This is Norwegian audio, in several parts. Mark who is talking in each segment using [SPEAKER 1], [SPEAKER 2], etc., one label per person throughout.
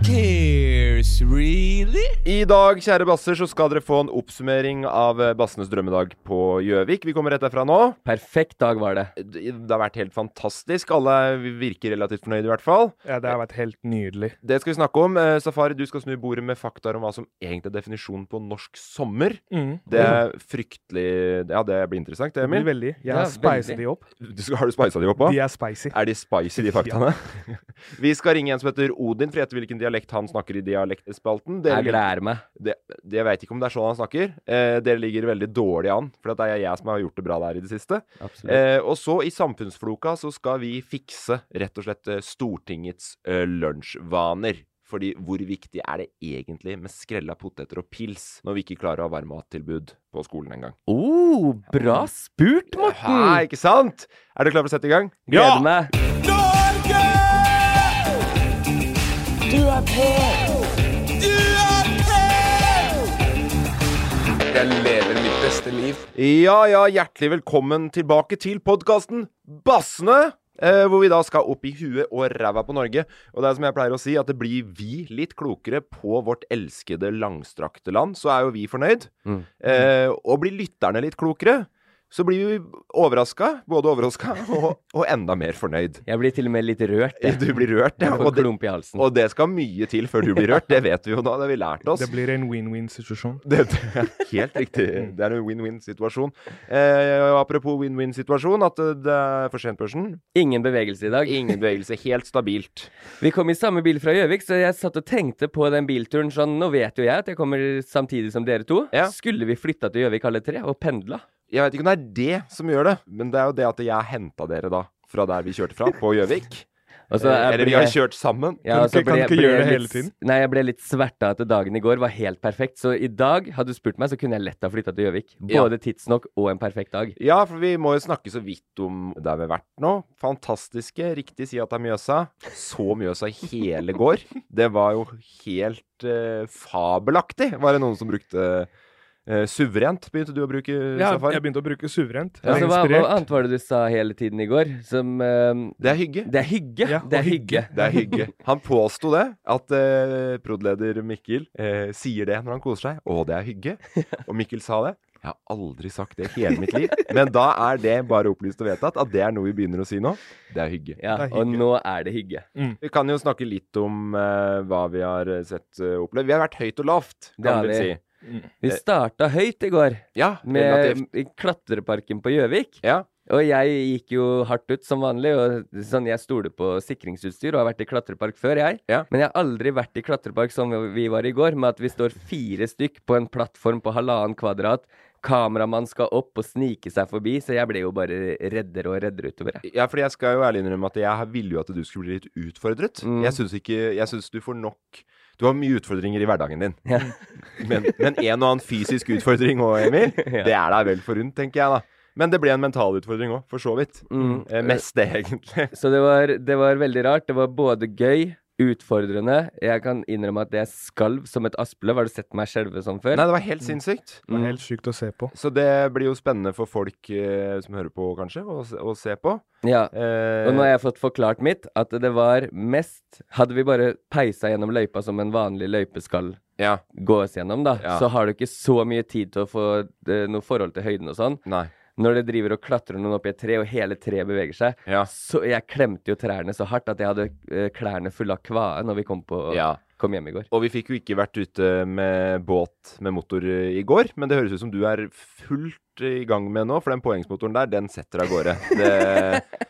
[SPEAKER 1] Cares really?
[SPEAKER 2] I dag, kjære basser, så skal dere få en oppsummering av eh, Bassenes drømmedag på Gjøvik. Vi kommer rett derfra nå.
[SPEAKER 1] Perfekt dag var det.
[SPEAKER 2] Det det har vært helt fantastisk. Alle virker relativt fornøyde, i hvert fall.
[SPEAKER 3] Ja, det har vært helt nydelig.
[SPEAKER 2] Det skal vi snakke om. Eh, Safari, du skal snu bordet med fakta om hva som egentlig er definisjonen på norsk sommer. Det er fryktelig Ja, det blir interessant, det,
[SPEAKER 3] Det blir
[SPEAKER 2] Emil.
[SPEAKER 3] veldig. Jeg
[SPEAKER 1] Ja,
[SPEAKER 3] har spicet
[SPEAKER 1] veldig.
[SPEAKER 3] de opp.
[SPEAKER 2] Du skal, har du spisa de opp òg?
[SPEAKER 3] De er spicy.
[SPEAKER 2] Er de spicy, de faktaene? vi skal ringe en som heter Odin, for å gjette hvilken dialekt han snakker i dialektspalten. Dere
[SPEAKER 1] Jeg gleder meg.
[SPEAKER 2] Det, det jeg veit ikke om det er sånn han snakker. Eh, dere ligger veldig dårlig an, for at det er jeg som har gjort det bra der i det siste.
[SPEAKER 1] Absolutt.
[SPEAKER 2] Eh, og så, i Samfunnsfloka, så skal vi fikse rett og slett eh, Stortingets eh, lunsjvaner. Fordi hvor viktig er det egentlig med skrella poteter og pils når vi ikke klarer å ha varmmattilbud på skolen engang?
[SPEAKER 1] Oh, bra spurt,
[SPEAKER 2] Ja,
[SPEAKER 1] Morten!
[SPEAKER 2] ikke sant? Er dere klare for å sette i gang?
[SPEAKER 1] Gleder meg.
[SPEAKER 2] Ja, ja, hjertelig velkommen tilbake til podkasten Bassene! Eh, hvor vi da skal opp i huet og ræva på Norge. Og det er som jeg pleier å si, at det blir vi litt klokere på vårt elskede langstrakte land. Så er jo vi fornøyd.
[SPEAKER 1] Mm.
[SPEAKER 2] Eh, og blir lytterne litt klokere, så blir vi overraska. Både overraska og, og enda mer fornøyd.
[SPEAKER 1] Jeg blir til og med litt rørt. jeg.
[SPEAKER 2] Du blir rørt, ja.
[SPEAKER 1] Jeg
[SPEAKER 2] Og
[SPEAKER 1] får
[SPEAKER 2] det,
[SPEAKER 1] klump i halsen.
[SPEAKER 2] og det skal mye til før du blir rørt. Det vet vi jo nå. Det har vi lært oss.
[SPEAKER 3] Det blir en win-win-situasjon.
[SPEAKER 2] Det, det er helt riktig.
[SPEAKER 1] Mm.
[SPEAKER 2] Det er en win-win-situasjon. Eh, og apropos win-win-situasjon, at eh, det er for sent børsen.
[SPEAKER 1] Ingen bevegelse i dag.
[SPEAKER 2] Ingen bevegelse. Helt stabilt.
[SPEAKER 1] Vi kom i samme bil fra Gjøvik, så jeg satt og tenkte på den bilturen sånn Nå vet jo jeg at jeg kommer samtidig som dere to.
[SPEAKER 2] Ja.
[SPEAKER 1] Skulle vi flytta til Gjøvik alle tre og pendla?
[SPEAKER 2] Jeg veit ikke om det er det som gjør det, men det er jo det at jeg henta dere da fra der vi kjørte fra, på Gjøvik.
[SPEAKER 1] Og så
[SPEAKER 2] Eh,
[SPEAKER 1] Altså, jeg
[SPEAKER 2] Eller vi
[SPEAKER 1] ble-
[SPEAKER 2] har kjørt sammen.
[SPEAKER 1] Ja,
[SPEAKER 3] Kan
[SPEAKER 1] og så
[SPEAKER 3] ikke- kan ikke gjøre det
[SPEAKER 1] litt-
[SPEAKER 3] hele tiden.
[SPEAKER 1] Nei, jeg ble litt sverta at dagen i går var helt perfekt. Så i dag, hadde du spurt meg, så kunne jeg lett ha flytta til Gjøvik.
[SPEAKER 2] Ja.
[SPEAKER 1] Både tidsnok og en perfekt dag.
[SPEAKER 2] Ja, for vi må jo snakke så vidt om der vi har vært nå. Fantastiske. Riktig si at det er Mjøsa. Så Mjøsa i hele går. Det var jo helt eh, fabelaktig, var det noen som brukte. eh, suverent begynte du å bruke
[SPEAKER 3] Ja,
[SPEAKER 2] safari?
[SPEAKER 3] jeg begynte å bruke suverent. Jeg
[SPEAKER 1] Ja,
[SPEAKER 3] er
[SPEAKER 1] så Altså, hva, hva
[SPEAKER 3] inspirert.
[SPEAKER 1] annet var det du sa hele tiden i går? Som ehm,
[SPEAKER 2] Det er hygge.
[SPEAKER 1] Det er hygge.
[SPEAKER 3] Ja,
[SPEAKER 1] det er
[SPEAKER 3] og
[SPEAKER 1] hygge.
[SPEAKER 2] Det er hygge. Han påsto det, at eh, prod.leder Mikkel eh, sier det når han koser seg. Å, det er hygge. Og Mikkel sa det. Jeg har aldri sagt det i hele mitt liv. Men da er det bare opplyst og vedtatt at det er noe vi begynner å si nå. Det er hygge.
[SPEAKER 1] Ja,
[SPEAKER 3] Det er
[SPEAKER 1] og
[SPEAKER 3] hygge. Mm.
[SPEAKER 1] nå er det hygge.
[SPEAKER 2] Vi kan jo snakke litt om eh, hva vi har sett og opplevd. Vi har vært høyt og lavt,
[SPEAKER 1] Det har
[SPEAKER 2] kan vi
[SPEAKER 1] vi.
[SPEAKER 2] si.
[SPEAKER 1] Vi starta høyt i går
[SPEAKER 2] Ja,
[SPEAKER 1] med
[SPEAKER 2] relativt.
[SPEAKER 1] i klatreparken på Gjøvik.
[SPEAKER 2] Ja.
[SPEAKER 1] Og jeg gikk jo hardt ut som vanlig. Og sånn, jeg stoler på sikringsutstyr og har vært i klatrepark før, jeg.
[SPEAKER 2] Ja.
[SPEAKER 1] Men jeg har aldri vært i klatrepark som vi var i går, med at vi står fire stykk på en plattform på halvannen kvadrat. Kameramann skal opp og snike seg forbi, så jeg ble jo bare reddere og reddere utover. Jeg.
[SPEAKER 2] Ja, fordi jeg skal jo ærlig innrømme at jeg ville jo at du skulle bli litt utfordret.
[SPEAKER 1] Mm.
[SPEAKER 2] Jeg syns ikke Jeg syns du får nok Du har mye utfordringer i hverdagen din.
[SPEAKER 1] Ja.
[SPEAKER 2] Men, men en og annen fysisk utfordring òg, Emil.
[SPEAKER 1] Ja.
[SPEAKER 2] Det er deg vel forunt, tenker jeg da. Men det ble en mental utfordring òg, for så vidt.
[SPEAKER 1] Mm.
[SPEAKER 2] Eh, mest det, egentlig.
[SPEAKER 1] Så det var, det var veldig rart. Det var både gøy, utfordrende. Jeg kan innrømme at jeg skalv som et aspløv. Har du sett meg skjelve sånn før?
[SPEAKER 2] Nei, det var helt sinnssykt.
[SPEAKER 3] Det var helt sykt å se på.
[SPEAKER 2] Så det blir jo spennende for folk eh, som hører på, kanskje, å, se- å se på.
[SPEAKER 1] Ja.
[SPEAKER 2] Eh,
[SPEAKER 1] Og nå har jeg fått forklart mitt, at det var mest Hadde vi bare peisa gjennom løypa som en vanlig løype skal
[SPEAKER 2] Ja.
[SPEAKER 1] gås gjennom, da,
[SPEAKER 2] Ja.
[SPEAKER 1] så har du ikke så mye tid til å få eh, noe forhold til høyden og sånn.
[SPEAKER 2] Eh, Nei.
[SPEAKER 1] Når det driver og klatrer noen opp i et tre, og hele treet beveger seg
[SPEAKER 2] Ja.
[SPEAKER 1] Så jeg klemte jo trærne så hardt at jeg hadde eh, klærne fulle av kvae når vi kom, på,
[SPEAKER 2] Ja.
[SPEAKER 1] kom hjem i går.
[SPEAKER 2] Og vi fikk jo ikke vært ute med båt med motor eh, i går, men det høres ut som du er fullt eh, i gang med nå, for den påhengsmotoren der, den setter av gårde. Det,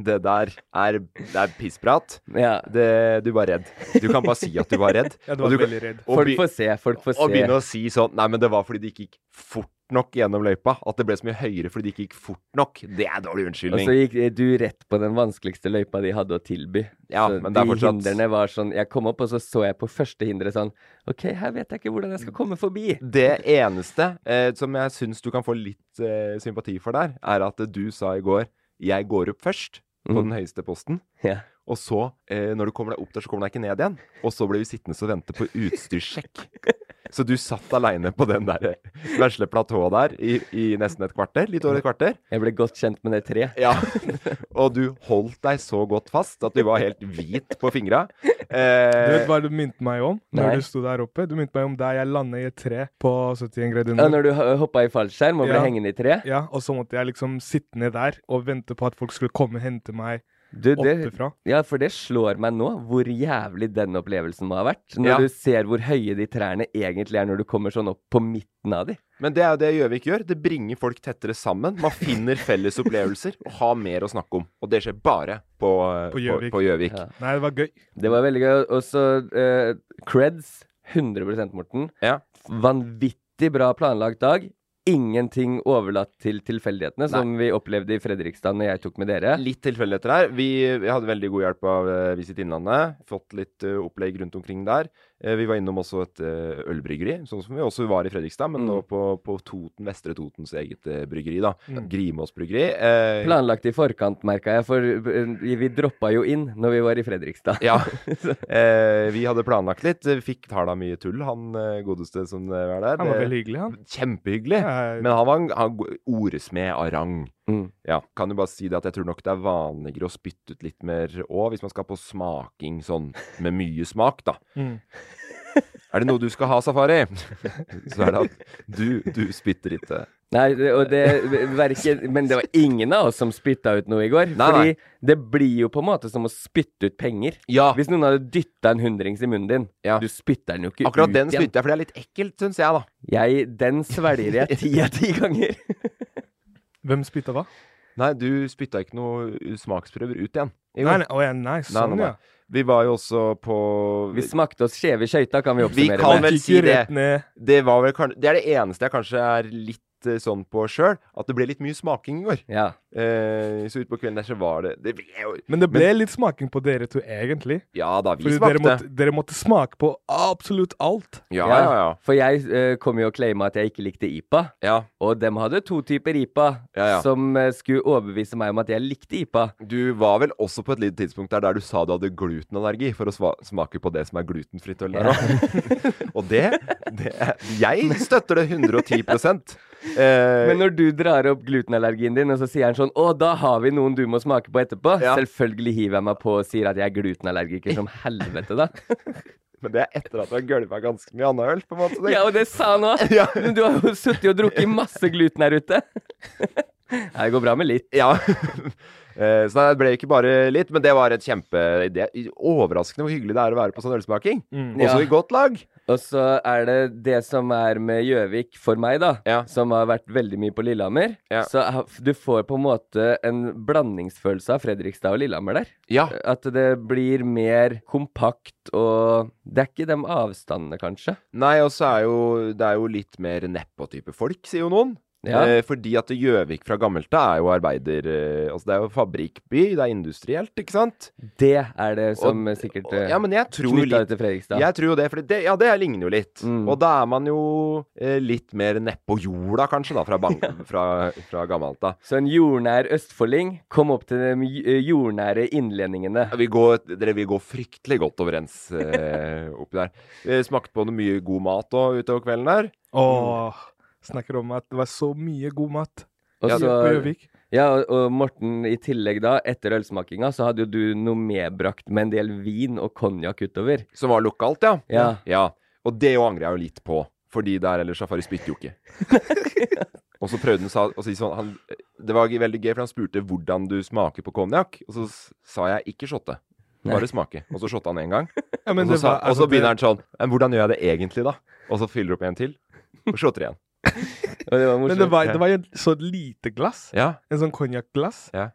[SPEAKER 2] det der er, det er pissprat.
[SPEAKER 1] Ja.
[SPEAKER 2] Det, du var redd. Du kan bare si at du var redd.
[SPEAKER 3] Ja, du
[SPEAKER 2] og
[SPEAKER 3] var
[SPEAKER 2] kan-
[SPEAKER 3] veldig redd.
[SPEAKER 2] og
[SPEAKER 1] Folk
[SPEAKER 2] be-
[SPEAKER 1] får se, folk får
[SPEAKER 2] Og
[SPEAKER 1] se.
[SPEAKER 2] begynne å si sånn Nei, men det var fordi det ikke gikk fort nok gjennom løypa. At det ble så mye høyere fordi det ikke gikk fort nok. Det er dårlig
[SPEAKER 1] Og
[SPEAKER 2] unnskyldning.
[SPEAKER 1] så gikk eh, du rett på den vanskeligste løypa de hadde å tilby.
[SPEAKER 2] Ja,
[SPEAKER 1] så
[SPEAKER 2] men det er fortsatt-
[SPEAKER 1] De hindrene var sånn Jeg kom opp, og så så jeg på første hinderet sånn OK, her vet jeg ikke hvordan jeg skal komme forbi.
[SPEAKER 2] Det eneste eh, som jeg syns du kan få litt eh, sympati for der, er at du sa i går 'jeg går opp først' på
[SPEAKER 1] Mm.
[SPEAKER 2] den høyeste posten.
[SPEAKER 1] Ja.
[SPEAKER 2] Og så, eh, når du kommer deg opp der, så kommer du deg ikke ned igjen. Og så ble vi sittende og vente på utstyrssjekk. Så du satt aleine på den der eh, vesle platået der i, i nesten et kvarter. Litt over et kvarter.
[SPEAKER 1] Jeg ble godt kjent med det treet.
[SPEAKER 2] Ja, og du holdt deg så godt fast at du var helt hvit på fingra.
[SPEAKER 3] Du vet
[SPEAKER 2] Eh,
[SPEAKER 3] hva du minte meg om
[SPEAKER 1] Nei.
[SPEAKER 3] når du sto der oppe? Du minte meg om der jeg landet i et tre på 71
[SPEAKER 2] Mm.
[SPEAKER 3] grader
[SPEAKER 1] Ja,
[SPEAKER 3] nord.
[SPEAKER 1] når du hoppa i fallskjerm og ble
[SPEAKER 3] Ja.
[SPEAKER 1] hengende i treet.
[SPEAKER 3] Ja, og så måtte jeg liksom sitte ned der og vente på at folk skulle komme og hente meg
[SPEAKER 1] Du, det,
[SPEAKER 3] oppefra.
[SPEAKER 1] ja, for det slår meg nå hvor jævlig den opplevelsen må ha vært. Når
[SPEAKER 2] Ja.
[SPEAKER 1] du ser hvor høye de trærne egentlig er når du kommer sånn opp på midten av de.
[SPEAKER 2] men det er jo det Gjøvik gjør. Det bringer folk tettere sammen. Man finner felles opplevelser og har mer å snakke om. Og det skjer bare på eh,
[SPEAKER 3] På Gjøvik.
[SPEAKER 2] På, på Gjøvik.
[SPEAKER 1] Ja.
[SPEAKER 3] Nei, det var gøy.
[SPEAKER 1] Det var veldig gøy. Og så eh, creds. 100 Morten.
[SPEAKER 2] Ja.
[SPEAKER 1] Vanvittig bra planlagt dag. Ingenting overlatt til tilfeldighetene, som vi opplevde i Fredrikstad når jeg tok med dere.
[SPEAKER 2] Litt tilfeldigheter her. Vi, vi hadde veldig god hjelp av eh, Visit Innlandet. Fått litt eh, opplegg rundt omkring der. Eh, vi var innom også et eh, ølbryggeri, sånn som vi også var i Fredrikstad, men
[SPEAKER 1] Mm.
[SPEAKER 2] nå på, på Toten, Vestre Totens eget eh, bryggeri, da.
[SPEAKER 3] Mm.
[SPEAKER 2] Grimås bryggeri. Eh,
[SPEAKER 1] Planlagt i forkant, merka jeg, for eh, vi droppa jo inn når vi var i Fredrikstad.
[SPEAKER 2] Ja. Eh, vi hadde planlagt litt. Vi fikk tala mye tull, han eh, godeste som eh, var der.
[SPEAKER 3] Han var
[SPEAKER 2] Det-
[SPEAKER 3] veldig hyggelig, han.
[SPEAKER 2] Kjempehyggelig.
[SPEAKER 3] Ja,
[SPEAKER 2] Men han var en han, go- ordesmed av rang.
[SPEAKER 1] Mm.
[SPEAKER 2] Ja, kan jo bare si det at jeg tror nok det er vanligere å spytte ut litt mer òg, hvis man skal på smaking sånn med mye smak, da.
[SPEAKER 3] Mm.
[SPEAKER 2] Er det noe du skal ha, Safari? Så er det at du, du spytter eh. ikke.
[SPEAKER 1] Nei, det- og det verken Men det var ingen av oss som spytta ut noe i går.
[SPEAKER 2] Nei,
[SPEAKER 1] fordi
[SPEAKER 2] nei.
[SPEAKER 1] det blir jo på en måte som å spytte ut penger.
[SPEAKER 2] Ja,
[SPEAKER 1] Hvis noen hadde dytta en hundrings i munnen din,
[SPEAKER 2] Ja.
[SPEAKER 1] du spytter den jo ikke ut
[SPEAKER 2] akkurat den
[SPEAKER 1] igjen.
[SPEAKER 2] spytter jeg, for det er litt ekkelt, syns jeg, da.
[SPEAKER 1] Jeg, den svelger jeg ti av ti ganger.
[SPEAKER 3] Hvem spytta hva?
[SPEAKER 2] Nei, du spytta ikke noe smaksprøver ut igjen. Jo.
[SPEAKER 3] Nei, nei, å, ja, nei, sånn,
[SPEAKER 2] nei.
[SPEAKER 3] ja.
[SPEAKER 2] Vi var jo også på
[SPEAKER 1] Vi smakte oss skjeve i skøyta, kan vi oppsummere
[SPEAKER 2] kan
[SPEAKER 1] med.
[SPEAKER 2] vel
[SPEAKER 3] Gikk
[SPEAKER 2] si
[SPEAKER 3] jo
[SPEAKER 2] det.
[SPEAKER 3] rett ned.
[SPEAKER 2] Det, var vel kan- det er det eneste jeg kanskje er litt eh, sånn på sjøl, at det ble litt mye smaking i går.
[SPEAKER 1] Ja.
[SPEAKER 2] Eh, så utpå kvelden der så var det Det ble jo
[SPEAKER 3] Men det ble litt smaking på dere to, egentlig.
[SPEAKER 2] Ja da, vi
[SPEAKER 3] Fordi
[SPEAKER 2] smakte.
[SPEAKER 3] dere måtte, dere måtte smake på absolutt alt.
[SPEAKER 2] Ja, ja, ja.
[SPEAKER 1] For jeg eh, kom jo og claima at jeg ikke likte IPA,
[SPEAKER 2] ja.
[SPEAKER 1] og dem hadde to typer IPA
[SPEAKER 2] Ja, ja.
[SPEAKER 1] som eh, skulle overbevise meg om at jeg likte IPA.
[SPEAKER 2] Du var vel også på et lite tidspunkt der, der du sa du hadde glutenallergi, for å sva- smake på det som er glutenfritt øl der òg. Og det, det er- Jeg støtter det 110 eh,
[SPEAKER 1] Men når du drar opp glutenallergien din, og så sier han sånn Å, da har vi noen du må smake på etterpå.
[SPEAKER 2] Ja.
[SPEAKER 1] Selvfølgelig hiver jeg meg på og sier at jeg er glutenallergiker som helvete, da.
[SPEAKER 2] men det er etter at du har gølva ganske mye annet øl, på en måte.
[SPEAKER 1] Ja, og det sa han òg.
[SPEAKER 2] Ja.
[SPEAKER 1] Men Du har jo sittet og drukket masse gluten her ute. Nei, det går bra med litt.
[SPEAKER 2] Ja. Eh, Så nei, det ble ikke bare litt, men det var et kjempe det er Overraskende hvor hyggelig det er å være på sånn ølsmaking. Også
[SPEAKER 1] Mm. Ja.
[SPEAKER 2] i godt lag.
[SPEAKER 1] Og så er det det som er med Gjøvik for meg, da,
[SPEAKER 2] Ja.
[SPEAKER 1] som har vært veldig mye på Lillehammer.
[SPEAKER 2] Ja.
[SPEAKER 1] Så ha- du får på en måte en blandingsfølelse av Fredrikstad og Lillehammer der.
[SPEAKER 2] Ja.
[SPEAKER 1] At det blir mer kompakt og Det er ikke de avstandene, kanskje.
[SPEAKER 2] Nei, og så er jo det er jo litt mer neppo-type folk, sier jo noen.
[SPEAKER 1] Ja.
[SPEAKER 2] Eh, fordi at Gjøvik fra gammelt av er jo arbeider... Eh, altså det er jo fabrikkby, det er industrielt, ikke sant?
[SPEAKER 1] Det er det som
[SPEAKER 2] Og-
[SPEAKER 1] sikkert
[SPEAKER 2] og- ja, men jeg tror
[SPEAKER 1] knytta
[SPEAKER 2] litt-
[SPEAKER 1] ut til Fredrikstad.
[SPEAKER 2] Jeg tror jo det, for det, ja, det ligner jo litt.
[SPEAKER 1] Mm.
[SPEAKER 2] Og da er man jo eh, litt mer nedpå jorda, kanskje, da, fra, bang, fra, fra gammelt av.
[SPEAKER 1] Så en jordnær østfolding kom opp til de j- eh, jordnære innlendingene.
[SPEAKER 2] Vi går, dere vil gå fryktelig godt overens eh, oppi der. Vi smakte på noe mye god mat òg utover kvelden der.
[SPEAKER 3] Åh, snakker om at det var så mye god mat
[SPEAKER 1] Og
[SPEAKER 3] i- på
[SPEAKER 1] så,
[SPEAKER 3] Gjøvik.
[SPEAKER 1] ja, og- og Morten, i tillegg da, etter ølsmakinga, så hadde jo du noe medbrakt med en del vin og konjakk utover.
[SPEAKER 2] Som var lokalt, ja.
[SPEAKER 1] Ja.
[SPEAKER 2] Og det jo angrer jeg jo litt på, fordi der ellers Safari spytter jo ikke. og så prøvde han sa- å si sånn han, Det var veldig gøy, for han spurte hvordan du smaker på konjakk. Og så s- sa jeg ikke shotte. Bare smake. Og så shotta han én gang.
[SPEAKER 3] Ja, men
[SPEAKER 2] og så,
[SPEAKER 3] det
[SPEAKER 2] sa,
[SPEAKER 3] var,
[SPEAKER 2] og
[SPEAKER 3] altså,
[SPEAKER 2] så
[SPEAKER 3] det-
[SPEAKER 2] begynner han sånn Men hvordan gjør jeg det egentlig, da? Og så fyller du opp en til, og shotter igjen.
[SPEAKER 1] Og det var
[SPEAKER 3] Men det var,
[SPEAKER 1] morsomt.
[SPEAKER 3] det var jo et så lite glass.
[SPEAKER 2] Ja.
[SPEAKER 3] En sånn konjakkglass.
[SPEAKER 2] Ja.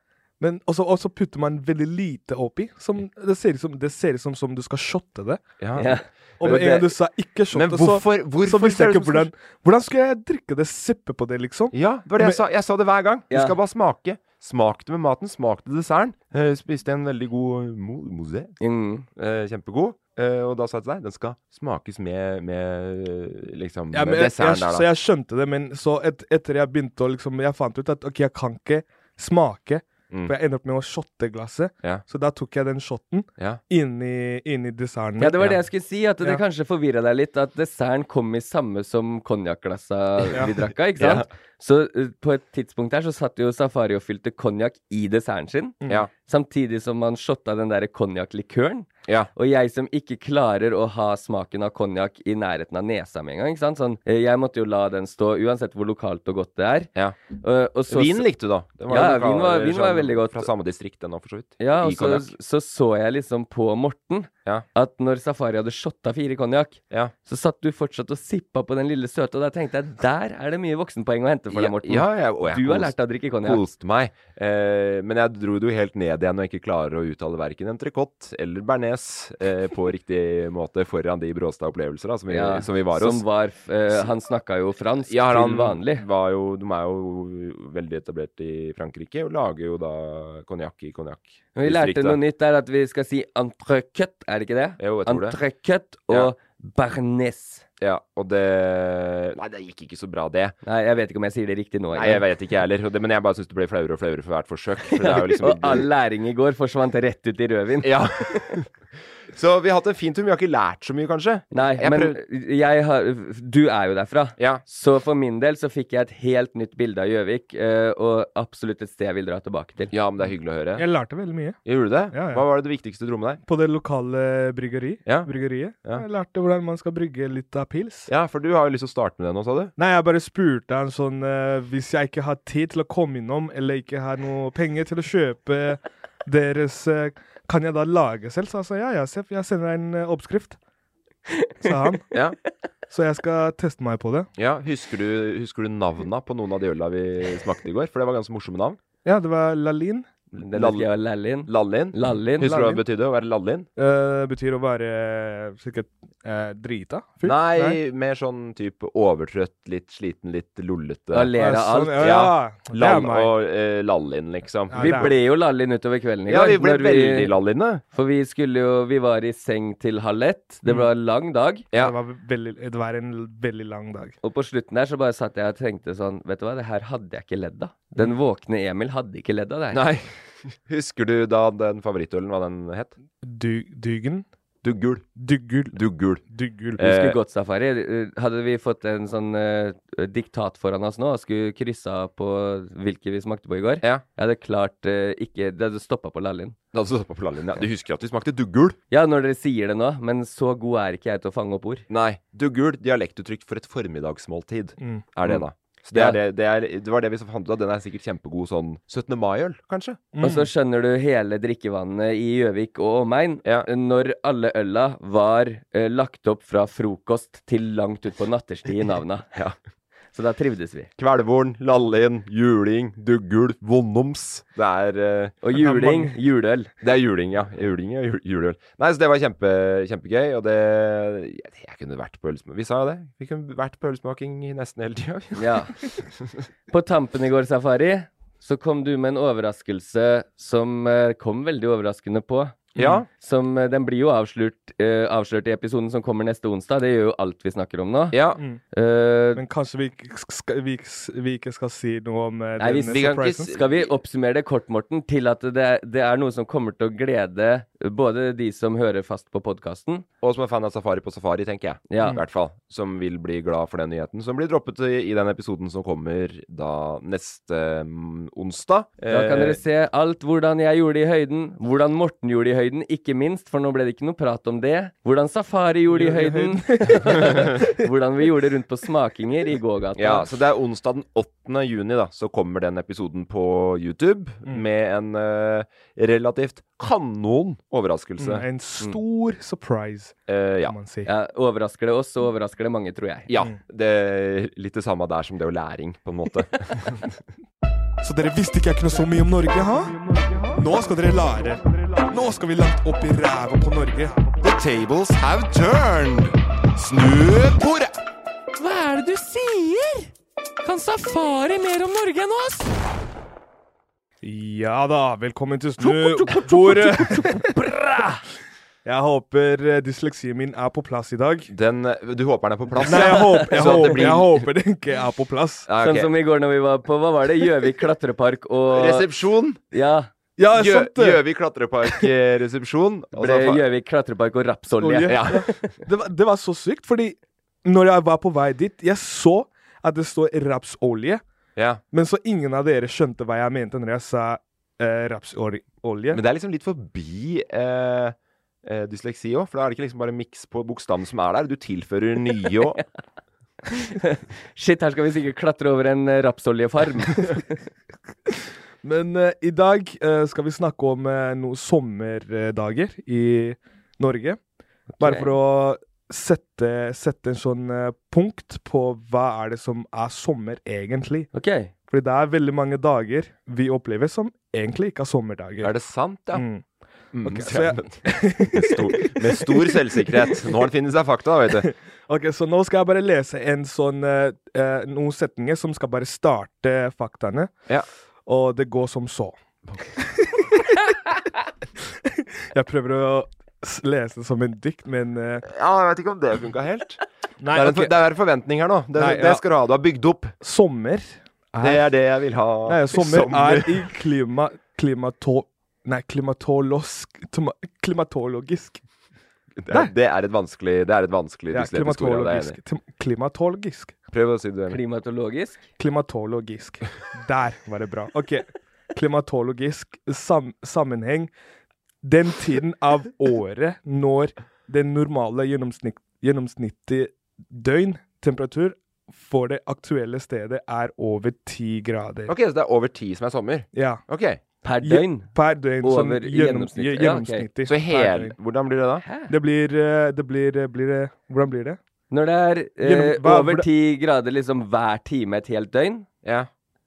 [SPEAKER 3] Men også, og så putter man veldig lite oppi. Som, det ser ut som, det ser ut som, som du skal shotte det.
[SPEAKER 2] ja.
[SPEAKER 1] Ja. Men
[SPEAKER 3] Og med en
[SPEAKER 1] det-
[SPEAKER 3] gang du sa 'ikke shotte',
[SPEAKER 2] Men hvorfor- hvorfor
[SPEAKER 3] så visste
[SPEAKER 2] ser
[SPEAKER 3] jeg
[SPEAKER 2] det
[SPEAKER 3] ikke
[SPEAKER 2] ut som
[SPEAKER 3] hvordan Hvordan skulle jeg drikke det, sippe på det, liksom?
[SPEAKER 2] Ja, det var det jeg sa. Jeg sa det hver gang. Du
[SPEAKER 1] Ja.
[SPEAKER 2] skal bare smake. Smak det med maten. Smak det desserten. Eh, spiste en veldig god mo mosé.
[SPEAKER 1] Mm.
[SPEAKER 2] Eh, kjempegod. Eh, og da sa jeg til deg den skal smakes med, med eh, liksom
[SPEAKER 3] Ja,
[SPEAKER 2] med
[SPEAKER 3] men jeg, jeg,
[SPEAKER 2] desserten der,
[SPEAKER 3] så
[SPEAKER 2] da.
[SPEAKER 3] jeg skjønte det, men så et, etter jeg begynte å liksom Jeg fant ut at ok, jeg kan ikke smake,
[SPEAKER 2] Mm.
[SPEAKER 3] for jeg ender opp med å shotte glasset.
[SPEAKER 2] Ja.
[SPEAKER 3] Så da tok jeg den shotten
[SPEAKER 2] Ja.
[SPEAKER 3] inni, inni desserten.
[SPEAKER 1] Ja, det var det jeg skulle si, at det
[SPEAKER 3] Ja.
[SPEAKER 1] kanskje forvirra deg litt at desserten kom i samme som konjakkglassa vi drakk av, ikke
[SPEAKER 2] Ja.
[SPEAKER 1] sant? Så eh, på et tidspunkt her så satt jo Safari og fylte konjakk i desserten sin,
[SPEAKER 2] Ja.
[SPEAKER 1] samtidig som man shotta den derre konjakklikøren.
[SPEAKER 2] Ja.
[SPEAKER 1] Og jeg som ikke klarer å ha smaken av konjakk i nærheten av nesa med en gang, ikke sant? Sånn, eh, jeg måtte jo la den stå, uansett hvor lokalt og godt det er. Eh,
[SPEAKER 2] Ja.
[SPEAKER 1] Og, og så,
[SPEAKER 2] Vin likte du, da. Det
[SPEAKER 1] Ja,
[SPEAKER 2] jo lokal-
[SPEAKER 1] vin var- vin var
[SPEAKER 2] sånn
[SPEAKER 1] veldig godt.
[SPEAKER 2] Fra samme distrikt, den òg, for så vidt.
[SPEAKER 1] Ja, og
[SPEAKER 2] I
[SPEAKER 1] så,
[SPEAKER 2] konjakk.
[SPEAKER 1] så så jeg liksom på Morten
[SPEAKER 2] Ja.
[SPEAKER 1] at når Safari hadde shotta fire konjakk,
[SPEAKER 2] Ja.
[SPEAKER 1] så satt du fortsatt og sippa på den lille søte, og der tenkte jeg der er det mye voksenpoeng å hente for deg, Morten.
[SPEAKER 2] Ja, ja, og jeg
[SPEAKER 1] du har
[SPEAKER 2] koste-
[SPEAKER 1] lært deg å drikke konjakk.
[SPEAKER 2] Koste meg. Eh, men jeg dro det jo helt ned igjen og ikke klarer å uttale verken entrecôte eller bearnés eh, på riktig måte foran de bråste opplevelser da, som, vi,
[SPEAKER 1] Ja,
[SPEAKER 2] som vi var
[SPEAKER 1] som
[SPEAKER 2] hos.
[SPEAKER 1] var, eh, han snakka jo fransk
[SPEAKER 2] Ja, han
[SPEAKER 1] til vanlig.
[SPEAKER 2] Var jo, de er jo veldig etablert i Frankrike og lager jo da konjakk i konjakk.
[SPEAKER 1] Men vi lærte noe nytt der, at vi skal si entrecôte, er det ikke det?
[SPEAKER 2] Jo, jeg tror det.
[SPEAKER 1] Entrecôte og
[SPEAKER 2] Ja.
[SPEAKER 1] bearnés.
[SPEAKER 2] Ja, og det Nei, det gikk ikke så bra, det.
[SPEAKER 1] Nei, jeg vet ikke om jeg sier det riktig nå.
[SPEAKER 2] Nei, jeg vet ikke, jeg heller. og det- Men jeg bare syns det ble flauere og flauere for hvert forsøk. For det er jo liksom
[SPEAKER 1] Og all læring i går forsvant rett ut i rødvin.
[SPEAKER 2] Ja. Så vi har hatt en fin tur, men vi har ikke lært så mye, kanskje.
[SPEAKER 1] Nei,
[SPEAKER 2] Jeg
[SPEAKER 1] men
[SPEAKER 2] prøv-
[SPEAKER 1] jeg har Du er jo derfra.
[SPEAKER 2] Ja.
[SPEAKER 1] Så for min del så fikk jeg et helt nytt bilde av Gjøvik, eh, og absolutt et sted jeg vil dra tilbake til.
[SPEAKER 2] ja, men det er hyggelig å høre.
[SPEAKER 3] Jeg lærte veldig mye.
[SPEAKER 2] Gjorde du det?
[SPEAKER 3] Ja, ja.
[SPEAKER 2] Hva var det, det viktigste du dro med deg?
[SPEAKER 3] På det lokale bryggeri,
[SPEAKER 2] Ja.
[SPEAKER 3] bryggeriet.
[SPEAKER 2] Ja.
[SPEAKER 3] Jeg lærte hvordan man skal brygge litt av pils.
[SPEAKER 2] Ja, for du har jo lyst til å starte med det nå, sa du?
[SPEAKER 3] Nei, jeg bare spurte han sånn eh, Hvis jeg ikke har tid til å komme innom, eller ikke har noe penger til å kjøpe deres eh, Kan jeg da lage selv? Så han sa ja, ja, Seff, jeg sender deg en eh, oppskrift. Sa han.
[SPEAKER 2] Ja.
[SPEAKER 3] Så jeg skal teste meg på det.
[SPEAKER 2] ja husker, du, husker du navna på noen av de øla vi smakte i går? For det var ganske morsomme navn.
[SPEAKER 3] Ja, det var Lalin.
[SPEAKER 1] Den
[SPEAKER 2] Lall-
[SPEAKER 1] husker jeg var Lallin.
[SPEAKER 2] Lallin.
[SPEAKER 1] Lallin.
[SPEAKER 2] Husker du hva
[SPEAKER 3] Lallin.
[SPEAKER 2] det betydde å være lallin?
[SPEAKER 3] Eh, betyr å være eh, sikkert eh, drita. Fyr.
[SPEAKER 2] Nei, mer sånn type overtrøtt, litt sliten, litt lollete.
[SPEAKER 1] Og ler av
[SPEAKER 3] Sånn,
[SPEAKER 1] alt.
[SPEAKER 3] ja, ja.
[SPEAKER 2] Ja.
[SPEAKER 3] Det er
[SPEAKER 2] Lall
[SPEAKER 3] meg.
[SPEAKER 2] og eh, lallin, liksom.
[SPEAKER 3] Ja,
[SPEAKER 1] Vi
[SPEAKER 2] vi,
[SPEAKER 3] det er-
[SPEAKER 1] ble jo Lallin utover kvelden i
[SPEAKER 2] ja,
[SPEAKER 1] går.
[SPEAKER 2] vi ble
[SPEAKER 1] når
[SPEAKER 2] veldig lalline.
[SPEAKER 1] For vi skulle jo Vi var i seng til halv ett. Det var en lang dag.
[SPEAKER 2] Mm. Ja.
[SPEAKER 3] Det, var veldig, det var en veldig lang dag.
[SPEAKER 1] Og på slutten der så bare satt jeg og tenkte sånn Vet du hva, det her hadde jeg ikke ledd av. Den våkne Emil hadde ikke ledd av det her.
[SPEAKER 2] Nei. Husker du da den favorittølen, hva den het?
[SPEAKER 3] Du, dugen?
[SPEAKER 2] Duggul.
[SPEAKER 3] Duggul.
[SPEAKER 2] Duggul.
[SPEAKER 3] Duggul.
[SPEAKER 1] Vi
[SPEAKER 2] Eh.
[SPEAKER 1] Skulle gått safari. Eh, Hadde vi fått en sånn eh, diktat foran oss nå og skulle kryssa på hvilke vi smakte på i går,
[SPEAKER 2] Ja.
[SPEAKER 1] jeg hadde klart eh, ikke Det hadde stoppa på Lallin.
[SPEAKER 2] Da hadde du stått på lallin, ja. Du husker at vi smakte duggul?
[SPEAKER 1] Ja, når dere sier det nå, men så god er ikke jeg til å fange opp ord.
[SPEAKER 2] Nei. Duggul dialektuttrykk for et formiddagsmåltid
[SPEAKER 3] Mm.
[SPEAKER 2] er det,
[SPEAKER 1] Mm.
[SPEAKER 2] da. Så det,
[SPEAKER 1] Ja.
[SPEAKER 2] er det, det, er, det var det vi så fant ut av. Den er sikkert kjempegod sånn 17. mai-øl, kanskje?
[SPEAKER 1] Og så skjønner du hele drikkevannet i Gjøvik og omegn
[SPEAKER 2] Ja.
[SPEAKER 1] når alle ølla var eh, lagt opp fra frokost til langt utpå nattestid i navna.
[SPEAKER 2] Ja.
[SPEAKER 1] Så da trivdes vi.
[SPEAKER 2] Kvelvorn, Lallien, juling, duggul, vondoms. Det er eh,
[SPEAKER 1] Og juling, juleøl.
[SPEAKER 2] Det er juling, ja. Juling og ju- juleøl. Nei, så det var kjempe, kjempegøy, og det Jeg, jeg kunne vært på ølsmaking. Vi sa jo det. Vi kunne vært på ølsmaking nesten hele tida.
[SPEAKER 1] Ja. På tampen i går, Safari, så kom du med en overraskelse som eh, kom veldig overraskende på.
[SPEAKER 2] Ja.
[SPEAKER 1] Som, eh, den blir jo avslørt, eh, avslørt i episoden som kommer neste onsdag. Det gjør jo alt vi snakker om nå.
[SPEAKER 2] ja.
[SPEAKER 1] Eh,
[SPEAKER 3] Men kanskje vi ikke skal, vi, ikke s- vi ikke skal si noe om eh,
[SPEAKER 1] nei, vi,
[SPEAKER 3] den
[SPEAKER 1] vi kan ikke,
[SPEAKER 3] surprisen?
[SPEAKER 1] skal vi oppsummere det kort, Morten, til at det er, det er noe som kommer til å glede både de som hører fast på podkasten
[SPEAKER 2] Og som er fan av Safari på Safari, tenker jeg.
[SPEAKER 1] Ja.
[SPEAKER 2] I hvert fall. Som vil bli glad for den nyheten. Som blir droppet i, i den episoden som kommer da neste mm, onsdag.
[SPEAKER 1] Da kan dere
[SPEAKER 2] Eh,
[SPEAKER 1] se alt hvordan jeg gjorde det i høyden, hvordan Morten gjorde det i høyden, ikke minst, for nå ble det ikke noe prat om det. Hvordan Safari gjorde det i høyden. hvordan vi gjorde det rundt på smakinger i gågata.
[SPEAKER 2] Ja, så det er onsdag den 8. juni da, så kommer den episoden på YouTube
[SPEAKER 3] Mm.
[SPEAKER 2] med en eh, relativt kanon overraskelse.
[SPEAKER 3] Mm, En stor surprise,
[SPEAKER 2] Eh, ja.
[SPEAKER 3] kan man si.
[SPEAKER 1] Ja, overrasker det oss, så overrasker det mange, tror jeg.
[SPEAKER 2] Ja,
[SPEAKER 3] Mm.
[SPEAKER 2] det er litt det samme der som det å læring, på en måte.
[SPEAKER 4] Så dere visste ikke jeg kunne så mye om Norge, ha? Nå skal dere lære. Nå skal vi langt opp i ræva på Norge. The tables have turned. Snu bordet.
[SPEAKER 5] Hva er det du sier? Kan safari mer om Norge enn oss?
[SPEAKER 3] Ja da, velkommen til Snubordet. Jeg håper eh, dysleksien min er på plass i dag.
[SPEAKER 2] Den, eh, du håper den er på plass?
[SPEAKER 3] Nei, jeg håper, jeg
[SPEAKER 2] Så at det
[SPEAKER 3] håper,
[SPEAKER 2] blir-
[SPEAKER 3] jeg håper den ikke er på plass.
[SPEAKER 2] Ja, ok.
[SPEAKER 1] Sånn som i går når vi var på Hva var det? Gjøvik klatrepark og
[SPEAKER 2] Resepsjon.
[SPEAKER 1] Ja.
[SPEAKER 3] Ja,
[SPEAKER 2] Gjø-
[SPEAKER 3] sant det.
[SPEAKER 2] Gjøvik eh, klatrepark-resepsjon.
[SPEAKER 1] Ble Gjøvik klatrepark og rapsolje.
[SPEAKER 3] Olje.
[SPEAKER 2] Ja.
[SPEAKER 3] Det var, det var så sykt, fordi når jeg var på vei dit, jeg så at det står rapsolje,
[SPEAKER 2] ja.
[SPEAKER 3] men så ingen av dere skjønte hva jeg mente når jeg sa eh, rapsolje.
[SPEAKER 2] Men det er liksom litt forbi eh, eh, dysleksi òg, for da er det ikke liksom bare miks på bokstaven som er der. Du tilfører nye òg.
[SPEAKER 1] Shit, her skal vi sikkert klatre over en eh, rapsoljefarm.
[SPEAKER 3] Men eh, i dag eh, skal vi snakke om eh, noen sommerdager i Norge. Bare for å sette, sette en sånn eh, punkt på hva er det som er sommer egentlig.
[SPEAKER 1] OK.
[SPEAKER 3] Fordi det er veldig mange dager vi opplever som egentlig ikke er sommerdager.
[SPEAKER 2] Er det sant, ja?
[SPEAKER 3] Mm.
[SPEAKER 2] Mm,
[SPEAKER 3] Ok,
[SPEAKER 2] så
[SPEAKER 3] så
[SPEAKER 2] jeg- med, stor, med stor selvsikkerhet. Nå har det funnet seg fakta, vet du.
[SPEAKER 3] Ok, så nå skal jeg bare lese en sånn, eh, eh, noen setninger som skal bare starte faktaene.
[SPEAKER 2] Ja.
[SPEAKER 3] Og det går som så. jeg prøver å s- lese det som en dikt, men eh,
[SPEAKER 2] Ja, jeg vet ikke om det funka helt.
[SPEAKER 3] Nei,
[SPEAKER 2] det, er en,
[SPEAKER 3] ok.
[SPEAKER 2] for- det er en forventning her nå. Det,
[SPEAKER 3] Nei,
[SPEAKER 2] det
[SPEAKER 3] ja.
[SPEAKER 2] skal du ha. Du har bygd opp.
[SPEAKER 3] sommer
[SPEAKER 2] Det er det jeg vil ha.
[SPEAKER 3] Nei, sommer er i klima... Klimato... Nei, klimatolosk... toma- Klimatologisk.
[SPEAKER 2] Det er, det er et vanskelig, det er et vanskelig
[SPEAKER 3] Ja,
[SPEAKER 2] dysletisk ord. ja, det er jeg enig
[SPEAKER 3] klimatologisk. Tim- Klimatologisk.
[SPEAKER 2] i. Prøv å si det du er enig i.
[SPEAKER 1] Klimatologisk.
[SPEAKER 3] Klimatologisk. Der var det bra. OK. Klimatologisk sam sammenheng. Den tiden av året når den normale gjennomsnitt gjennomsnittlige døgntemperatur for det aktuelle stedet er over ti grader.
[SPEAKER 2] Ok, så det er over ti som er sommer.
[SPEAKER 3] Ja.
[SPEAKER 2] Ok,
[SPEAKER 1] Per døgn.
[SPEAKER 3] Per døgn. sånn
[SPEAKER 1] Over
[SPEAKER 3] gjennom-
[SPEAKER 1] gjennomsnitt.
[SPEAKER 3] gje-
[SPEAKER 1] Ja, ok.
[SPEAKER 3] Gjennomsnittlig.
[SPEAKER 2] Så
[SPEAKER 3] per
[SPEAKER 2] hel
[SPEAKER 3] døgn.
[SPEAKER 2] Hvordan blir det da?
[SPEAKER 3] Det blir, eh, det blir, eh, blir det, Hvordan blir det?
[SPEAKER 1] Når det er eh,
[SPEAKER 3] Gjennom- hva-
[SPEAKER 1] over
[SPEAKER 3] hvordan-
[SPEAKER 1] ti grader liksom hver time et helt døgn
[SPEAKER 2] Ja. Nei,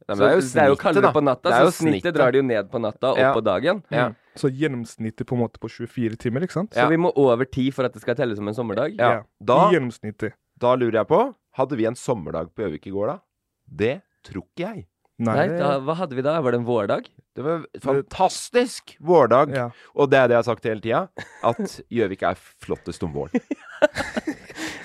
[SPEAKER 2] men
[SPEAKER 1] så det er jo kaldere på natta,
[SPEAKER 2] Det
[SPEAKER 1] så
[SPEAKER 2] er jo
[SPEAKER 1] snittet
[SPEAKER 2] snittet.
[SPEAKER 1] drar det jo ned på natta og
[SPEAKER 2] Ja.
[SPEAKER 1] på dagen.
[SPEAKER 2] Ja.
[SPEAKER 3] Så gjennomsnittet på en måte på 24 timer, ikke sant?
[SPEAKER 1] Så vi må over ti for at det skal telle som en sommerdag.
[SPEAKER 2] Ja. Da-
[SPEAKER 3] I gjennomsnittet.
[SPEAKER 2] Da lurer jeg på Hadde vi en sommerdag på Gjøvik i går, da? Det tror ikke jeg.
[SPEAKER 3] Nei,
[SPEAKER 1] Nei,
[SPEAKER 3] det-
[SPEAKER 1] da, hva hadde vi da? Var det en vårdag?
[SPEAKER 2] Det var en fantastisk vårdag.
[SPEAKER 3] Ja.
[SPEAKER 2] Og det er det jeg har sagt hele tida, at Gjøvik er flottest om våren.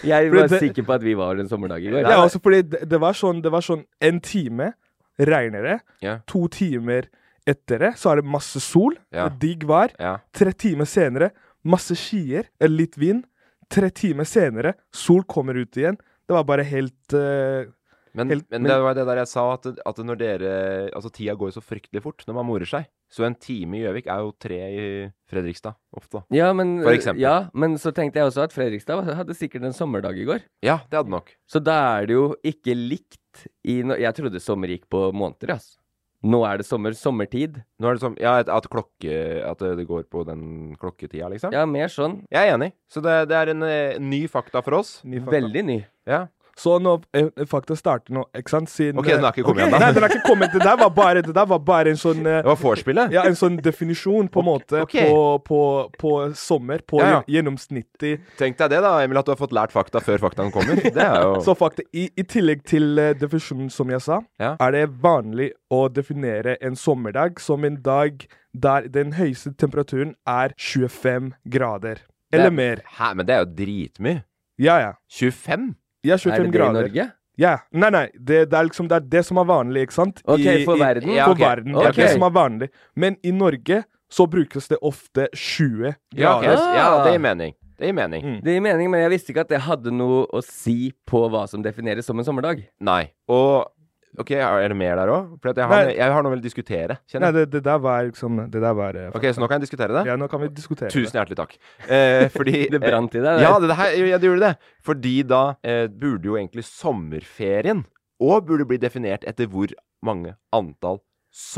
[SPEAKER 1] Jeg
[SPEAKER 3] Fordi
[SPEAKER 1] var
[SPEAKER 3] det-
[SPEAKER 1] sikker på at vi var en sommerdag i går.
[SPEAKER 3] Ja, også fordi det, det, var sånn, det var sånn en time regner det,
[SPEAKER 2] Ja.
[SPEAKER 3] to timer etter det, så er det masse sol,
[SPEAKER 2] Ja.
[SPEAKER 3] digg vær.
[SPEAKER 2] Ja.
[SPEAKER 3] Tre timer senere, masse skyer, eh, litt vind. Tre timer senere, sol kommer ut igjen. Det var bare helt eh,
[SPEAKER 2] Men,
[SPEAKER 3] Helt-
[SPEAKER 2] men
[SPEAKER 3] men-
[SPEAKER 2] det var det der jeg sa, at, at når dere Altså, tida går jo så fryktelig fort når man morer seg. Så en time i Gjøvik er jo tre i Fredrikstad, ofte.
[SPEAKER 1] Ja men,
[SPEAKER 2] For eksempel.
[SPEAKER 1] ja, men så tenkte jeg også at Fredrikstad var- hadde sikkert en sommerdag i går.
[SPEAKER 2] Ja, det hadde nok.
[SPEAKER 1] Så da er det jo ikke likt i no Jeg trodde sommer gikk på måneder, altså. Nå er det sommer. Sommertid.
[SPEAKER 2] Nå er det sånn Ja, at, at klokke At det det går på den klokketida, liksom.
[SPEAKER 1] Ja, mer sånn.
[SPEAKER 2] Jeg er enig. Så det, det er en eh, ny fakta for oss.
[SPEAKER 3] ny fakta.
[SPEAKER 1] Veldig ny.
[SPEAKER 2] Ja.
[SPEAKER 3] Så nå eh, faktisk starter nå, ikke sant? Siden, eh,
[SPEAKER 2] Ok, den har ikke kommet
[SPEAKER 3] Ok,
[SPEAKER 2] ennå.
[SPEAKER 3] Nei, den har ikke kommet. Det der var bare, det der var bare en sånn eh,
[SPEAKER 2] Det var vorspielet.
[SPEAKER 3] ja, en sånn definisjon, på en måte,
[SPEAKER 2] ok.
[SPEAKER 3] på, på, på sommer. På
[SPEAKER 2] Ja, ja.
[SPEAKER 3] gjennomsnittig
[SPEAKER 2] Tenk deg det, da, Emil, at du har fått lært fakta før faktaen kommer. Det er jo
[SPEAKER 3] Så faktisk, i, i tillegg til eh, definisjonen som jeg sa,
[SPEAKER 2] Ja.
[SPEAKER 3] er det vanlig å definere en sommerdag som en dag der den høyeste temperaturen er 25 grader. Eller mer.
[SPEAKER 2] Hæ, men det er jo dritmye.
[SPEAKER 3] Ja, ja.
[SPEAKER 2] 25?
[SPEAKER 3] Ja,
[SPEAKER 1] Er
[SPEAKER 3] 25
[SPEAKER 1] det det i
[SPEAKER 3] grader.
[SPEAKER 1] Norge?
[SPEAKER 3] Ja. Nei, nei. Det, det, er liksom, det er det som er vanlig, ikke sant?
[SPEAKER 1] Ok, for verden?
[SPEAKER 2] Ja, ok.
[SPEAKER 3] For verden. Det
[SPEAKER 1] Ok.
[SPEAKER 3] er det som er vanlig. Men i Norge så brukes det ofte 20
[SPEAKER 2] Ja, ok.
[SPEAKER 3] grader.
[SPEAKER 2] ja, det gir mening. Det gir mening.
[SPEAKER 3] Mm.
[SPEAKER 1] Det gir mening, men jeg visste ikke at det hadde noe å si på hva som defineres som en sommerdag.
[SPEAKER 2] Nei. Og OK, er det mer der òg? For at jeg, har,
[SPEAKER 3] Nei.
[SPEAKER 2] jeg har noe å diskutere,
[SPEAKER 3] Nei,
[SPEAKER 2] kjenner jeg.
[SPEAKER 3] det, det der var liksom Det der var eh,
[SPEAKER 2] OK, så nå kan jeg diskutere det?
[SPEAKER 3] Ja, nå kan vi diskutere det.
[SPEAKER 2] Tusen hjertelig takk. Eh, fordi
[SPEAKER 1] Det brant i deg, det.
[SPEAKER 2] Eh, Ja, det, det her, ja, det gjorde det. Fordi da eh, burde jo egentlig sommerferien òg burde bli definert etter hvor mange antall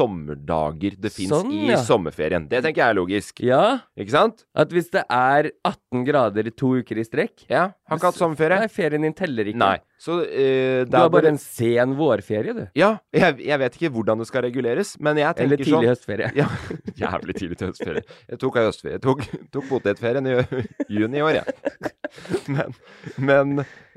[SPEAKER 2] sommerdager det fins
[SPEAKER 1] Sånn,
[SPEAKER 2] i
[SPEAKER 1] ja.
[SPEAKER 2] sommerferien. Det tenker jeg er logisk.
[SPEAKER 1] Ja,
[SPEAKER 2] Ikke sant?
[SPEAKER 1] at hvis det er 18 grader i to uker i strekk
[SPEAKER 2] Ja. Har ikke hatt sommerferie.
[SPEAKER 1] Nei, ferien din teller ikke.
[SPEAKER 2] Nei. Så eh,
[SPEAKER 1] Du har bare
[SPEAKER 2] burde-
[SPEAKER 1] en sen vårferie, du.
[SPEAKER 2] Ja, jeg, jeg vet ikke hvordan det skal reguleres, men jeg tenker
[SPEAKER 1] Eller tidlig
[SPEAKER 2] sånn
[SPEAKER 1] høstferie.
[SPEAKER 2] Ja, jævlig tidlig til høstferie. Jeg tok av høstferie. Jeg tok, tok potetferien i juni i år, jeg. Men, men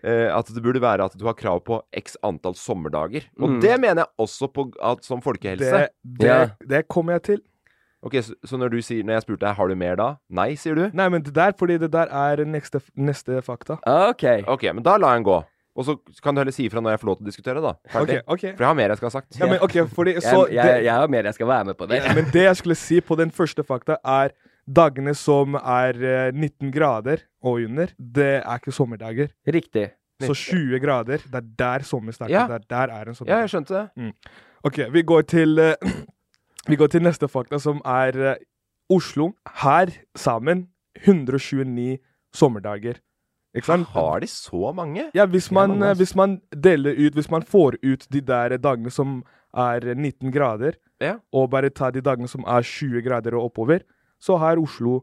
[SPEAKER 2] eh, at det burde være at du har krav på x antall sommerdager. Og det mener jeg også på, at, som folkehelse.
[SPEAKER 3] Det, det,
[SPEAKER 1] Ja.
[SPEAKER 3] det kommer jeg til.
[SPEAKER 2] Ok, så, så når, du sier, når jeg spurte deg har du mer da, nei, sier du?
[SPEAKER 3] Nei, men det der, fordi det der er neste, neste fakta.
[SPEAKER 1] OK.
[SPEAKER 2] Ok, men da lar jeg den gå. Og så kan du heller si ifra når jeg får lov til å diskutere, da.
[SPEAKER 3] Ok,
[SPEAKER 2] Ferdig.
[SPEAKER 3] ok.
[SPEAKER 2] For jeg har mer jeg skal ha sagt.
[SPEAKER 3] Ja, men ok, fordi
[SPEAKER 1] Jeg,
[SPEAKER 3] så
[SPEAKER 1] jeg,
[SPEAKER 3] det,
[SPEAKER 1] jeg har mer jeg skal være med på der.
[SPEAKER 3] Men det jeg skulle si på den første fakta, er dagene som er eh, 19 grader og under, det er ikke sommerdager.
[SPEAKER 1] Riktig.
[SPEAKER 3] Så 20 grader, det er der sommer starter.
[SPEAKER 2] Ja.
[SPEAKER 3] Det er der er en
[SPEAKER 2] ja, jeg
[SPEAKER 3] sommerdag. Mm.
[SPEAKER 2] skjønte det.
[SPEAKER 3] Ok, vi går til eh, Vi går til neste fakta, som er eh, Oslo. Her sammen 129 sommerdager. Ikke sant?
[SPEAKER 2] Har de så mange?
[SPEAKER 3] Ja, hvis
[SPEAKER 2] Ja,
[SPEAKER 3] man,
[SPEAKER 2] men
[SPEAKER 3] eh,
[SPEAKER 2] altså.
[SPEAKER 3] hvis man deler ut Hvis man får ut de der dagene som er eh, 19 grader,
[SPEAKER 2] Ja.
[SPEAKER 3] og bare tar de dagene som er 20 grader og oppover, så har Oslo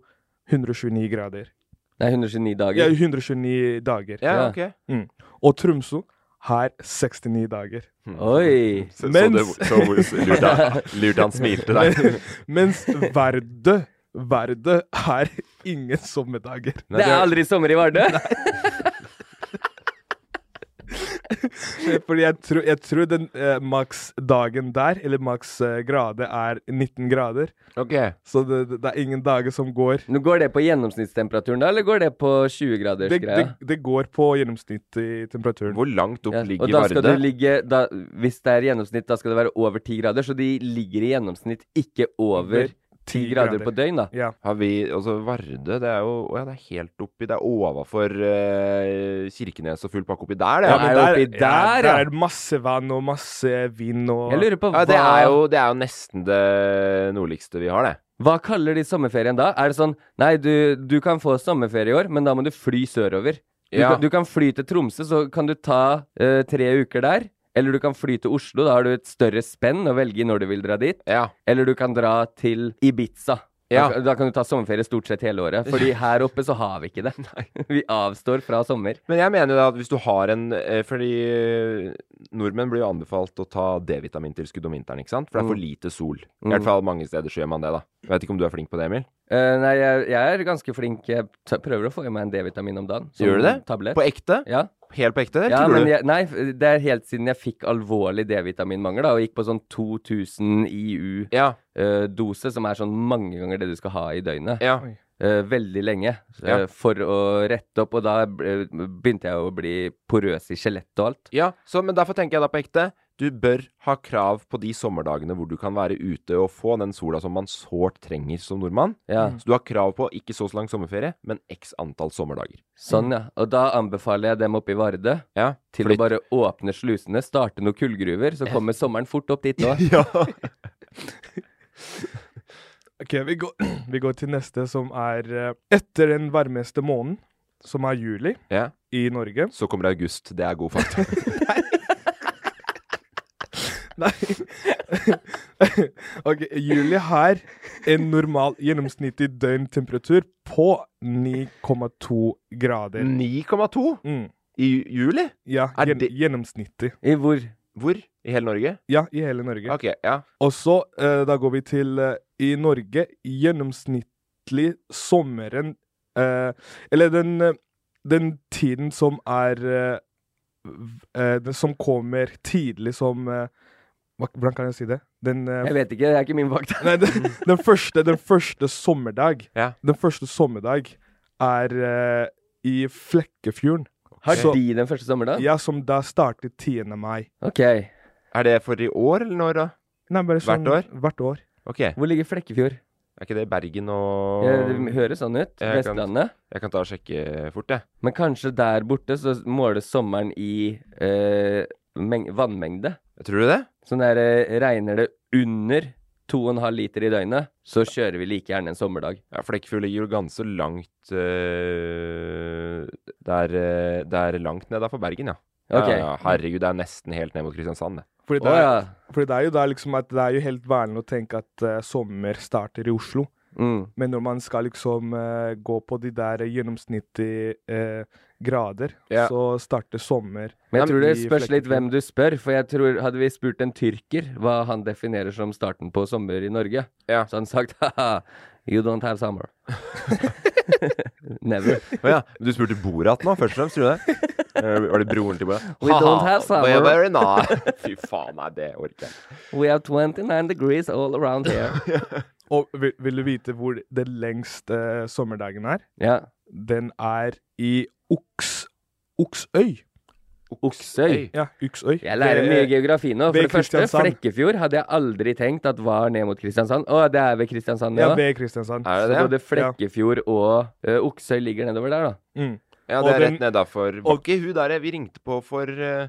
[SPEAKER 3] 129 grader.
[SPEAKER 1] Det er 129 dager.
[SPEAKER 3] Ja, 129 dager.
[SPEAKER 2] Ja,
[SPEAKER 1] Ja.
[SPEAKER 2] ok.
[SPEAKER 3] Mm. Og Tromsø har 69 dager.
[SPEAKER 1] Oi.
[SPEAKER 2] Så,
[SPEAKER 3] Mens-
[SPEAKER 2] så, det, så lurt, han, lurt han smilte der.
[SPEAKER 3] Mens Vardø Vardø har ingen sommerdager.
[SPEAKER 1] Det er aldri sommer i Vardø.
[SPEAKER 3] Fordi jeg, tror- jeg tror den eh, maks dagen der, eller maks eh, grade, er 19 grader.
[SPEAKER 2] Ok.
[SPEAKER 3] Så det, det, det er ingen dager som går.
[SPEAKER 1] Nå Går det på gjennomsnittstemperaturen da, eller går det på
[SPEAKER 3] det,
[SPEAKER 1] 20-gradersgreia?
[SPEAKER 3] det, det går på gjennomsnitt i temperaturen.
[SPEAKER 2] Hvor langt opp
[SPEAKER 1] Ja, og
[SPEAKER 2] ligger
[SPEAKER 1] da skal
[SPEAKER 2] Vardø?
[SPEAKER 1] du ligge da, Hvis det er gjennomsnitt, da skal det være over 10 grader. Så de ligger i gjennomsnitt ikke over 10 grader på døgn, da.
[SPEAKER 3] Ja.
[SPEAKER 2] Har vi Altså, Vardø, det er jo Å ja, det er helt oppi Det er overfor eh, Kirkenes og full pakke oppi der, det.
[SPEAKER 1] Ja,
[SPEAKER 2] Ja,
[SPEAKER 1] men
[SPEAKER 2] er
[SPEAKER 1] det
[SPEAKER 2] jo
[SPEAKER 1] oppi
[SPEAKER 3] ja,
[SPEAKER 1] der,
[SPEAKER 3] der
[SPEAKER 1] ja.
[SPEAKER 3] er det masse vann og masse vind og
[SPEAKER 1] Jeg lurer på hva,
[SPEAKER 2] ja, det, er jo, det er jo nesten det nordligste vi har, det.
[SPEAKER 1] hva kaller de sommerferien da? Er det sånn Nei, du, du kan få sommerferie i år, men da må du fly sørover. Du,
[SPEAKER 2] Ja.
[SPEAKER 1] kan, du kan fly til Tromsø, så kan du ta eh, tre uker der. Eller du kan fly til Oslo, da har du et større spenn å velge i når du vil dra dit.
[SPEAKER 2] Ja.
[SPEAKER 1] Eller du kan dra til Ibiza.
[SPEAKER 2] Ja.
[SPEAKER 1] Da, da kan du ta sommerferie stort sett hele året. Fordi her oppe så har vi ikke det. Vi avstår fra sommer.
[SPEAKER 2] Men jeg mener jo da at hvis du har en eh, Fordi eh, nordmenn blir jo anbefalt å ta D-vitamintilskudd om vinteren, ikke sant? For det er for
[SPEAKER 1] Mm.
[SPEAKER 2] lite sol. I hvert fall mange steder så gjør man det, da. Jeg vet ikke om du er flink på det, Emil?
[SPEAKER 1] Eh, nei, jeg, jeg er ganske flink. Jeg t prøver å få i meg en D-vitamin om dagen. som
[SPEAKER 2] Gjør du det?
[SPEAKER 1] Tablett.
[SPEAKER 2] På ekte?
[SPEAKER 1] Ja.
[SPEAKER 2] Helt på ekte? eller
[SPEAKER 1] ja
[SPEAKER 2] tuller
[SPEAKER 1] men
[SPEAKER 2] du?
[SPEAKER 1] jeg, nei, f- det er helt siden jeg fikk alvorlig D-vitaminmangel da, og gikk på sånn 2000 IU-dose,
[SPEAKER 2] ja,
[SPEAKER 1] som er sånn mange ganger det du skal ha i døgnet.
[SPEAKER 2] ja.
[SPEAKER 1] eh, veldig lenge eh,
[SPEAKER 2] Ja.
[SPEAKER 1] for å rette opp, og da ble- begynte jeg å bli porøs i skjelettet og alt.
[SPEAKER 2] Ja, så, men derfor tenker jeg da på ekte. Du bør ha krav på de sommerdagene hvor du kan være ute og få den sola som man sårt trenger som nordmann. Mm.
[SPEAKER 1] Ja.
[SPEAKER 2] Så du har krav på ikke så lang sommerferie, men x antall sommerdager.
[SPEAKER 1] Sånn, ja. Og da anbefaler jeg dem oppe i Vardø
[SPEAKER 2] Ja,
[SPEAKER 1] til å bare åpne slusene, starte noen kullgruver, så kommer sommeren fort opp dit nå.
[SPEAKER 2] Ja.
[SPEAKER 3] Ok, vi går, vi går til neste, som er eh, etter den varmeste måneden, som er juli
[SPEAKER 2] ja.
[SPEAKER 3] i Norge.
[SPEAKER 2] Så kommer august. Det er god fakta.
[SPEAKER 3] Nei Ok, juli har en normal gjennomsnittlig døgntemperatur på 9,2 grader.
[SPEAKER 2] 9,2?
[SPEAKER 3] Mm.
[SPEAKER 2] I ju- juli?
[SPEAKER 3] Ja,
[SPEAKER 2] Er
[SPEAKER 3] gjen,
[SPEAKER 2] det-
[SPEAKER 3] gjennomsnittig.
[SPEAKER 1] I hvor?
[SPEAKER 2] Hvor? I hele Norge?
[SPEAKER 3] Ja, i hele Norge.
[SPEAKER 2] Ok, ja.
[SPEAKER 3] Og så, eh, da går vi til eh, i Norge, gjennomsnittlig sommeren eh, Eller den, eh, den tiden som er eh, v- eh, den Som kommer tidlig som eh, hva- Hvordan kan jeg si det? Den, eh,
[SPEAKER 1] Jeg vet ikke, det er ikke min vakt.
[SPEAKER 3] nei, den, den, første, den første sommerdag
[SPEAKER 2] Ja.
[SPEAKER 3] Den første sommerdag er eh, i Flekkefjorden.
[SPEAKER 1] Har
[SPEAKER 3] Så-
[SPEAKER 1] de den første sommerdagen?
[SPEAKER 3] Ja, som da starter 10. mai.
[SPEAKER 1] Ok.
[SPEAKER 2] Er det for i år, eller når da?
[SPEAKER 3] Nei, bare
[SPEAKER 2] Hvert
[SPEAKER 3] sånn,
[SPEAKER 2] år?
[SPEAKER 3] Hvert år.
[SPEAKER 2] Ok. Er
[SPEAKER 1] Hvor ligger Flekkefjord?
[SPEAKER 2] ikke det Bergen og
[SPEAKER 1] Ja, det høres sånn ut.
[SPEAKER 2] Jeg kan-
[SPEAKER 1] Vestlandet.
[SPEAKER 2] Jeg kan ta og sjekke fort, jeg.
[SPEAKER 1] Men kanskje der borte så måles sommeren i eh, meng vannmengde.
[SPEAKER 2] Tror du det?
[SPEAKER 1] Sånn der eh, regner det under 2,5 liter i døgnet, så kjører vi like gjerne en sommerdag.
[SPEAKER 2] Ja, Flekkefjord ligger jo ganske langt øh, det, er, øh, det er langt ned da for Bergen, ja.
[SPEAKER 1] Ok.
[SPEAKER 2] ja. ja, Herregud, det er nesten helt ned mot Kristiansand, det.
[SPEAKER 1] Å
[SPEAKER 3] Fordi det, er,
[SPEAKER 1] ja.
[SPEAKER 3] fordi det er jo da liksom at det er jo helt vanlig å tenke at eh, sommer starter i Oslo.
[SPEAKER 1] Mm.
[SPEAKER 3] Men når man skal liksom eh, gå på de der gjennomsnittlige eh, grader,
[SPEAKER 2] Ja.
[SPEAKER 3] så starter sommer
[SPEAKER 1] Men jeg tror det
[SPEAKER 3] i
[SPEAKER 1] spørs litt
[SPEAKER 3] Flekkefjord.
[SPEAKER 1] hvem du spør, for jeg tror hadde vi spurt en tyrker hva han definerer som starten på sommer i Norge,
[SPEAKER 2] Ja.
[SPEAKER 1] så hadde han sagt haha, you don't have summer. Never.
[SPEAKER 2] Å ja. men Du spurte Borat nå, først og fremst, tror du det? Eh, Var det broren til Borat?
[SPEAKER 1] We don't have summer.
[SPEAKER 2] Haha, very nice. Fy faen, nei, det orker jeg ikke.
[SPEAKER 1] We have 29 degrees all around here.
[SPEAKER 3] Og vil, vil du vite hvor den lengste eh, sommerdagen er?
[SPEAKER 1] Ja.
[SPEAKER 3] Den er i Oks, Oksøy.
[SPEAKER 1] Oksøy.
[SPEAKER 3] Ja, Uksøy.
[SPEAKER 1] Jeg lærer mye geografi nå. For
[SPEAKER 3] ved
[SPEAKER 1] det første,
[SPEAKER 3] Kristiansand.
[SPEAKER 1] Flekkefjord hadde jeg aldri tenkt at var ned mot Kristiansand. Å, det er ved Kristiansand,
[SPEAKER 3] Ja,
[SPEAKER 1] ja.
[SPEAKER 3] ved Kristiansand.
[SPEAKER 2] Er det
[SPEAKER 1] Så
[SPEAKER 2] det?
[SPEAKER 1] både Flekkefjord og ø, Oksøy ligger nedover der, da.
[SPEAKER 3] Mm.
[SPEAKER 2] Ja, det
[SPEAKER 3] Og
[SPEAKER 2] er
[SPEAKER 3] den-
[SPEAKER 2] rett nedafor. Var
[SPEAKER 3] og-
[SPEAKER 2] ikke hun der vi ringte på for eh,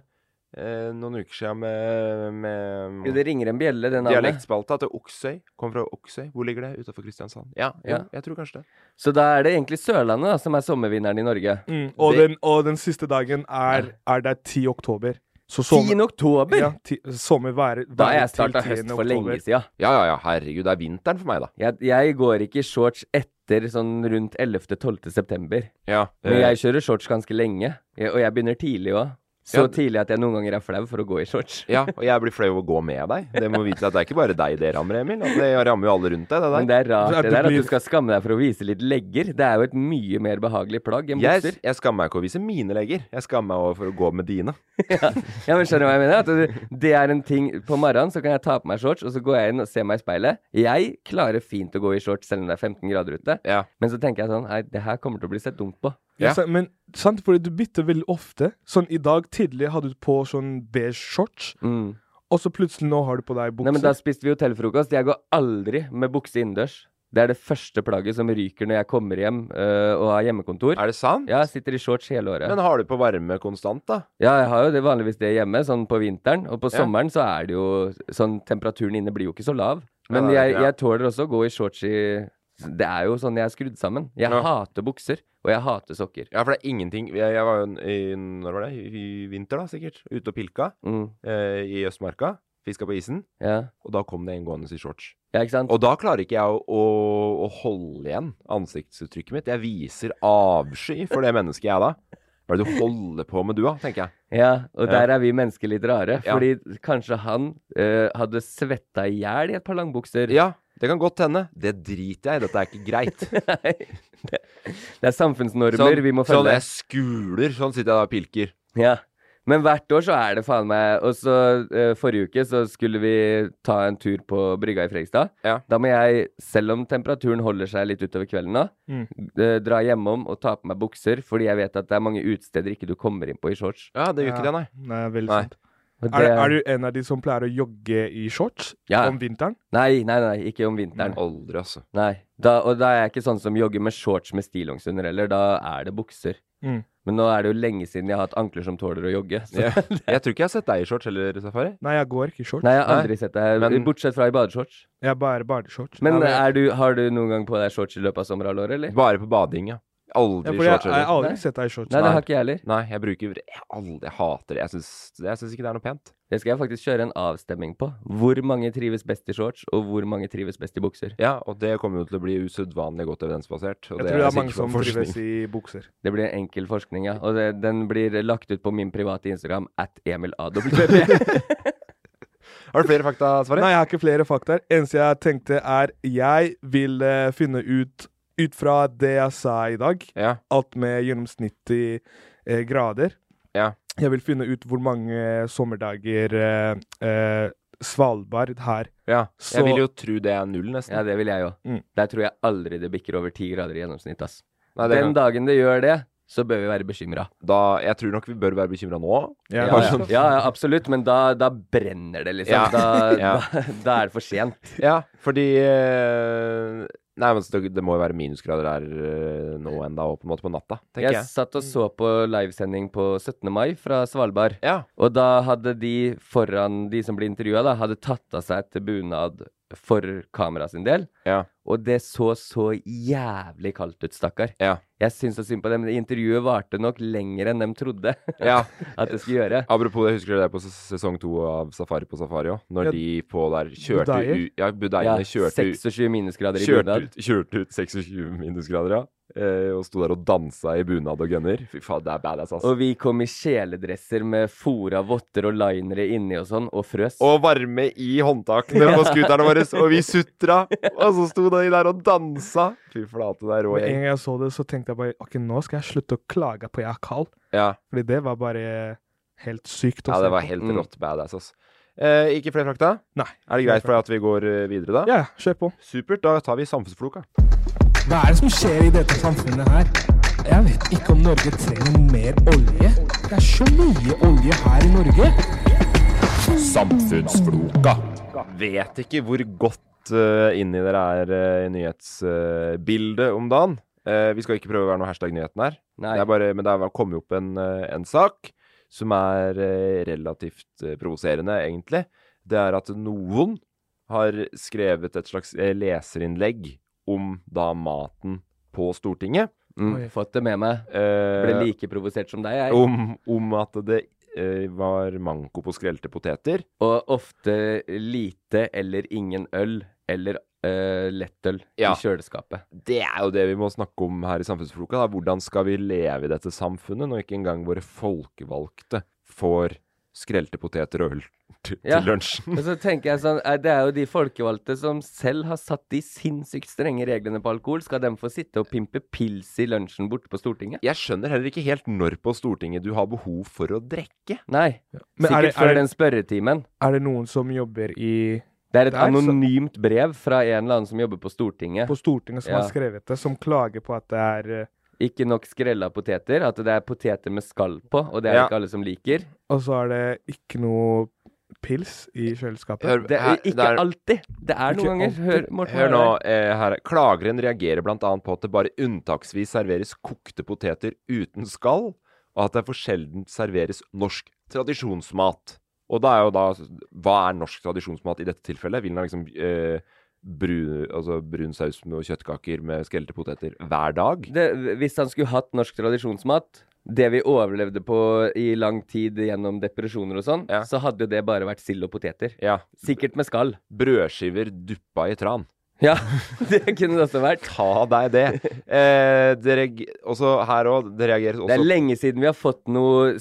[SPEAKER 2] eh, noen uker siden med,
[SPEAKER 1] Jo,
[SPEAKER 2] med
[SPEAKER 1] det ringer en bjelle, det navnet.
[SPEAKER 2] dialektspalta til Oksøy? Kom fra Oksøy. Hvor ligger det? Utafor Kristiansand? Ja, jo,
[SPEAKER 1] Ja.
[SPEAKER 2] jeg tror kanskje det.
[SPEAKER 1] Så da er det egentlig Sørlandet da, som er sommervinneren i Norge.
[SPEAKER 3] Mm. Og,
[SPEAKER 2] Det-
[SPEAKER 3] den, og den siste dagen er, er der 10. oktober. Så
[SPEAKER 1] 10. oktober!
[SPEAKER 3] Ja, ti, sommer være, være
[SPEAKER 1] Da har jeg
[SPEAKER 3] til
[SPEAKER 1] starta
[SPEAKER 3] 10.
[SPEAKER 1] høst for
[SPEAKER 3] oktober.
[SPEAKER 1] lenge siden.
[SPEAKER 2] Ja, ja, ja, herregud, det er vinteren for meg, da.
[SPEAKER 1] Jeg, jeg går ikke i shorts etter sånn rundt 11.-12. september.
[SPEAKER 2] Ja,
[SPEAKER 1] Men
[SPEAKER 2] eh,
[SPEAKER 1] jeg kjører shorts ganske lenge, jeg, og jeg begynner tidlig òg. Så
[SPEAKER 2] Ja, d-
[SPEAKER 1] tidlig at jeg noen ganger er flau for å gå i shorts.
[SPEAKER 2] ja, og jeg blir flau av å gå med deg. Det må vite at det er ikke bare deg det rammer, Emil. at Det rammer jo alle rundt deg, det
[SPEAKER 1] Men
[SPEAKER 2] der.
[SPEAKER 1] det er rart
[SPEAKER 3] Så at
[SPEAKER 1] det
[SPEAKER 3] det
[SPEAKER 1] der at
[SPEAKER 3] blir-
[SPEAKER 1] du skal skamme deg for å vise litt legger. Det er jo et mye mer behagelig plagg enn
[SPEAKER 2] Jeg,
[SPEAKER 1] bukser.
[SPEAKER 2] jeg skammer meg ikke å vise mine legger. Jeg skammer meg over for å gå med dine.
[SPEAKER 1] Ja, men skjønner du hva jeg mener? At det, det er en ting På morgenen så kan jeg ta på meg shorts, og så går jeg inn og ser meg i speilet. Jeg klarer fint å gå i shorts selv om det er 15 grader ute.
[SPEAKER 2] Ja.
[SPEAKER 1] Men så tenker jeg sånn Nei, det her kommer til å bli sett dumt på.
[SPEAKER 3] Ja.
[SPEAKER 2] Ja.
[SPEAKER 3] sant, men sant, fordi du bytter veldig ofte. Sånn i dag tidlig hadde du på sånn beige shorts,
[SPEAKER 1] Mm.
[SPEAKER 3] og så plutselig nå har du på deg bukser.
[SPEAKER 1] Nei, men da spiste vi hotellfrokost. Jeg går aldri med bukse innendørs. Det er det første plagget som ryker når jeg kommer hjem øh, og har hjemmekontor.
[SPEAKER 2] Er det sant?
[SPEAKER 1] Ja, jeg sitter i shorts hele året.
[SPEAKER 2] Men har du på varme konstant, da?
[SPEAKER 1] Ja, jeg har jo det vanligvis det hjemme, sånn på vinteren. Og på
[SPEAKER 2] Ja.
[SPEAKER 1] sommeren så er det jo sånn Temperaturen inne blir jo ikke så lav. Men
[SPEAKER 2] Nei, det er
[SPEAKER 1] jeg,
[SPEAKER 2] ikke det.
[SPEAKER 1] jeg tåler også å gå i shorts i Det er jo sånn jeg er skrudd sammen. Jeg
[SPEAKER 2] Ja.
[SPEAKER 1] hater bukser, og jeg hater sokker.
[SPEAKER 2] Ja, for det er ingenting Jeg, jeg var jo en- i Når var det? I vinter, da, sikkert. Ute og pilka
[SPEAKER 1] Mm,
[SPEAKER 2] eh, i Østmarka. Fiska på isen.
[SPEAKER 1] ja.
[SPEAKER 2] Og da kom det en gående i shorts.
[SPEAKER 1] ja, ikke sant?
[SPEAKER 2] Og da klarer ikke jeg å, å, å holde igjen ansiktsuttrykket mitt. Jeg viser avsky for det mennesket jeg er da. Hva er det du holder på med du, da? tenker jeg.
[SPEAKER 1] ja, og
[SPEAKER 2] Ja.
[SPEAKER 1] der er vi mennesker litt rare.
[SPEAKER 2] Ja.
[SPEAKER 1] Fordi kanskje han eh, hadde svetta i hjel i et par langbukser.
[SPEAKER 2] Ja, det kan godt hende. Det driter jeg i. Dette er ikke greit.
[SPEAKER 1] Det er samfunnsnormer vi må
[SPEAKER 2] sånn
[SPEAKER 1] følge.
[SPEAKER 2] jeg skuler. Sånn sitter jeg da og pilker.
[SPEAKER 1] Ja. Men hvert år så er det faen meg Og så eh, forrige uke så skulle vi ta en tur på brygga i Fredrikstad.
[SPEAKER 2] Ja.
[SPEAKER 1] Da må jeg, selv om temperaturen holder seg litt utover kvelden nå, eh, dra hjemom og ta på meg bukser, fordi jeg vet at det er mange utesteder ikke du kommer inn på i shorts.
[SPEAKER 2] Ja, det gjør ikke det, nei.
[SPEAKER 3] Nei, veldig
[SPEAKER 2] Nei.
[SPEAKER 3] sant.
[SPEAKER 1] Og
[SPEAKER 3] Er,
[SPEAKER 1] det-
[SPEAKER 3] er du en av de som pleier å jogge i shorts
[SPEAKER 1] Ja.
[SPEAKER 3] om vinteren?
[SPEAKER 1] Nei, nei, nei, ikke om vinteren.
[SPEAKER 2] Aldri, altså.
[SPEAKER 1] Nei. Da, og da er jeg ikke sånn som jogger med shorts med stillongs under heller. Da er det bukser.
[SPEAKER 3] Mm.
[SPEAKER 1] Men nå er det jo lenge siden jeg har hatt ankler som tåler å jogge. Så.
[SPEAKER 2] Jeg, jeg tror ikke jeg har sett deg i shorts heller, Safari.
[SPEAKER 3] Nei, jeg går ikke i shorts.
[SPEAKER 1] Nei, jeg har aldri sett deg
[SPEAKER 2] Men-
[SPEAKER 1] Bortsett fra i badeshorts.
[SPEAKER 3] Jeg er bare badeshorts.
[SPEAKER 1] Men
[SPEAKER 3] Nei,
[SPEAKER 1] er du, har du noen gang på deg shorts i løpet av sommerhalvåret, eller?
[SPEAKER 2] Bare på bading, ja. Aldri
[SPEAKER 3] Ja, for jeg
[SPEAKER 2] shorts
[SPEAKER 3] jeg har
[SPEAKER 2] heller.
[SPEAKER 3] aldri
[SPEAKER 1] Nei.
[SPEAKER 3] sett deg i shorts.
[SPEAKER 1] Nei, det
[SPEAKER 2] Nei.
[SPEAKER 1] har ikke jeg heller.
[SPEAKER 2] Nei, jeg bruker jeg, aldri, jeg hater det. Jeg syns, jeg syns ikke det er noe pent.
[SPEAKER 1] Det skal jeg faktisk kjøre en avstemning på. Hvor mange trives best i shorts, og hvor mange trives best i bukser?
[SPEAKER 2] Ja, og det kommer jo til å bli usedvanlig godt evidensbasert. Og
[SPEAKER 3] Jeg tror det
[SPEAKER 2] jeg
[SPEAKER 3] er mange
[SPEAKER 2] sikker på
[SPEAKER 3] som
[SPEAKER 2] forskning.
[SPEAKER 3] trives i bukser.
[SPEAKER 1] Det blir en enkel forskning, ja. Og det, den blir lagt ut på min private Instagram at emilaw.
[SPEAKER 2] Har du flere fakta, Sverre?
[SPEAKER 3] Nei, jeg har ikke flere fakta. Eneste jeg tenkte, er jeg vil eh, finne ut, ut fra det jeg sa i dag,
[SPEAKER 2] Ja.
[SPEAKER 3] alt med gjennomsnittlig eh, grader
[SPEAKER 2] Ja.
[SPEAKER 3] Jeg vil finne ut hvor mange sommerdager eh, eh, Svalbard har.
[SPEAKER 2] ja.
[SPEAKER 3] Så-
[SPEAKER 2] Jeg vil jo tro det er null, nesten.
[SPEAKER 1] Ja, det vil jeg jo.
[SPEAKER 3] Mm.
[SPEAKER 1] Der tror jeg aldri det bikker over ti grader i gjennomsnitt, ass.
[SPEAKER 2] Nei, det
[SPEAKER 1] den
[SPEAKER 2] kan-
[SPEAKER 1] dagen det gjør det, så bør vi være bekymra.
[SPEAKER 2] da, jeg tror nok vi bør være bekymra nå.
[SPEAKER 3] Ja,
[SPEAKER 1] Ja,
[SPEAKER 3] altså,
[SPEAKER 1] ja. ja, ja, absolutt, men da, da brenner det, liksom.
[SPEAKER 2] Ja.
[SPEAKER 1] Da,
[SPEAKER 2] Ja.
[SPEAKER 1] Da, da er det for sent.
[SPEAKER 2] Ja, fordi eh, Nei, men så det, det må jo være minusgrader der eh, nå enda, og på en måte på natta, tenker Mm.
[SPEAKER 1] Jeg satt og så på livesending på 17. mai fra Svalbard.
[SPEAKER 2] jeg. Ja.
[SPEAKER 1] Og da hadde de foran de som ble intervjua, da, hadde tatt av seg et bunad for kameraet sin del.
[SPEAKER 2] Ja.
[SPEAKER 1] Og det så så jævlig kaldt ut, stakkar.
[SPEAKER 2] Ja.
[SPEAKER 1] Jeg syns så synd på dem. men Intervjuet varte nok lenger enn de trodde
[SPEAKER 2] ja.
[SPEAKER 1] at det skulle gjøre.
[SPEAKER 2] Apropos det, husker dere det på ses- sesong to av Safari på Safari òg? Når
[SPEAKER 3] Ja,
[SPEAKER 2] de på der kjørte
[SPEAKER 3] Budeier.
[SPEAKER 2] ut Ja,
[SPEAKER 1] Ja,
[SPEAKER 2] budeiene kjørte ut
[SPEAKER 1] 26 minusgrader i
[SPEAKER 2] Kjørte
[SPEAKER 1] bunad.
[SPEAKER 2] ut, kjørte ut 26 minusgrader, ja. Eh, og sto der og dansa i bunad og gunner. Fy faen, det er badass, ass.
[SPEAKER 1] Og vi kom i kjeledresser med fora votter og linere inni og sånn, og frøs.
[SPEAKER 2] og varme i håndtakene på skuterne våre, og vi sutra. Og så sto de der og dansa. Fy flate, det er rå
[SPEAKER 3] Med en
[SPEAKER 2] gjeng.
[SPEAKER 3] gang jeg så det, så tenkte jeg bare OK, nå skal jeg slutte å klage på jeg er kald.
[SPEAKER 2] Ja,
[SPEAKER 3] Fordi det var bare helt sykt.
[SPEAKER 2] ja,
[SPEAKER 3] å se
[SPEAKER 2] det var
[SPEAKER 3] på.
[SPEAKER 2] helt
[SPEAKER 1] Mm.
[SPEAKER 2] rått badass, ass. Eh, ikke flere frakta?
[SPEAKER 3] Nei.
[SPEAKER 2] Er det greit for deg at vi går eh, videre, da?
[SPEAKER 3] Ja, kjør på.
[SPEAKER 2] Supert. Da tar vi samfunnsfloka.
[SPEAKER 5] Hva er det som skjer i dette samfunnet her? Jeg vet ikke om Norge trenger mer olje. Det er så mye olje her i Norge.
[SPEAKER 2] Samfunnsfloka. Vet ikke hvor godt eh, inni dere er eh, i nyhetsbildet om dagen. Eh, vi skal ikke prøve å være noe hashtag-nyheten her.
[SPEAKER 1] Nei.
[SPEAKER 2] Det er bare, men det har kommet opp en, eh, en sak som er eh, relativt eh, provoserende, egentlig. Det er at noen har skrevet et slags eh, leserinnlegg om da maten på Stortinget.
[SPEAKER 1] Mm, fått det med meg.
[SPEAKER 2] Eh, oh.
[SPEAKER 1] Ble like provosert som deg, jeg.
[SPEAKER 2] om, om at det eh, var manko på skrelte poteter.
[SPEAKER 1] Og ofte lite eller ingen øl eller eh, lettøl
[SPEAKER 2] Ja.
[SPEAKER 1] i kjøleskapet.
[SPEAKER 2] Det er jo det vi må snakke om her i Samfunnsfloka. Da. Hvordan skal vi leve i dette samfunnet når ikke engang våre folkevalgte får skrelte poteter og øl til,
[SPEAKER 1] Ja.
[SPEAKER 2] til lunsjen?
[SPEAKER 1] Og så tenker jeg sånn, eh, Det er jo de folkevalgte som selv har satt de sinnssykt strenge reglene på alkohol. Skal de få sitte og pimpe pils i lunsjen borte på Stortinget?
[SPEAKER 2] Jeg skjønner heller ikke helt når på Stortinget du har behov for å drikke.
[SPEAKER 1] Nei.
[SPEAKER 3] Men er
[SPEAKER 1] Sikkert
[SPEAKER 3] det- er
[SPEAKER 1] før
[SPEAKER 3] det-
[SPEAKER 1] den spørretimen.
[SPEAKER 3] Er det noen som jobber i
[SPEAKER 1] Det er et
[SPEAKER 3] Det er så-
[SPEAKER 1] anonymt brev fra en eller annen som jobber på Stortinget.
[SPEAKER 3] på Stortinget som
[SPEAKER 1] Ja.
[SPEAKER 3] har skrevet det, som klager på at det er eh,
[SPEAKER 1] Ikke nok skrella poteter. At det er poteter med skall på, og det er
[SPEAKER 2] Ja.
[SPEAKER 1] ikke alle som liker.
[SPEAKER 3] Og så altså, er det ikke noe pils i kjøleskapet.
[SPEAKER 2] Hør-
[SPEAKER 1] Det
[SPEAKER 2] her-
[SPEAKER 1] er ikke
[SPEAKER 2] det er-
[SPEAKER 1] alltid. Det er noen
[SPEAKER 3] Ikke
[SPEAKER 1] ganger.
[SPEAKER 3] alltid.
[SPEAKER 1] Hør, Morten. hva
[SPEAKER 2] Hør
[SPEAKER 1] er
[SPEAKER 2] nå,
[SPEAKER 1] det?
[SPEAKER 2] eh, her. Klageren reagerer bl.a. på at det bare unntaksvis serveres kokte poteter uten skall, og at det for sjelden serveres norsk tradisjonsmat. Og da er jo da altså, Hva er norsk tradisjonsmat i dette tilfellet? Vil den ha liksom eh, brun, altså brun saus med og kjøttkaker med skrelte poteter hver dag?
[SPEAKER 1] det, hvis han skulle hatt norsk tradisjonsmat, det vi overlevde på i lang tid gjennom depresjoner og sånn,
[SPEAKER 2] Ja.
[SPEAKER 1] så hadde jo det bare vært sild og poteter.
[SPEAKER 2] Ja.
[SPEAKER 1] Sikkert med skall.
[SPEAKER 2] Brødskiver duppa i tran.
[SPEAKER 1] Ja, det kunne det også vært.
[SPEAKER 2] Ta deg det. Eh, det reag- også her òg, det reageres
[SPEAKER 1] Det er
[SPEAKER 2] også
[SPEAKER 1] lenge siden vi har fått noe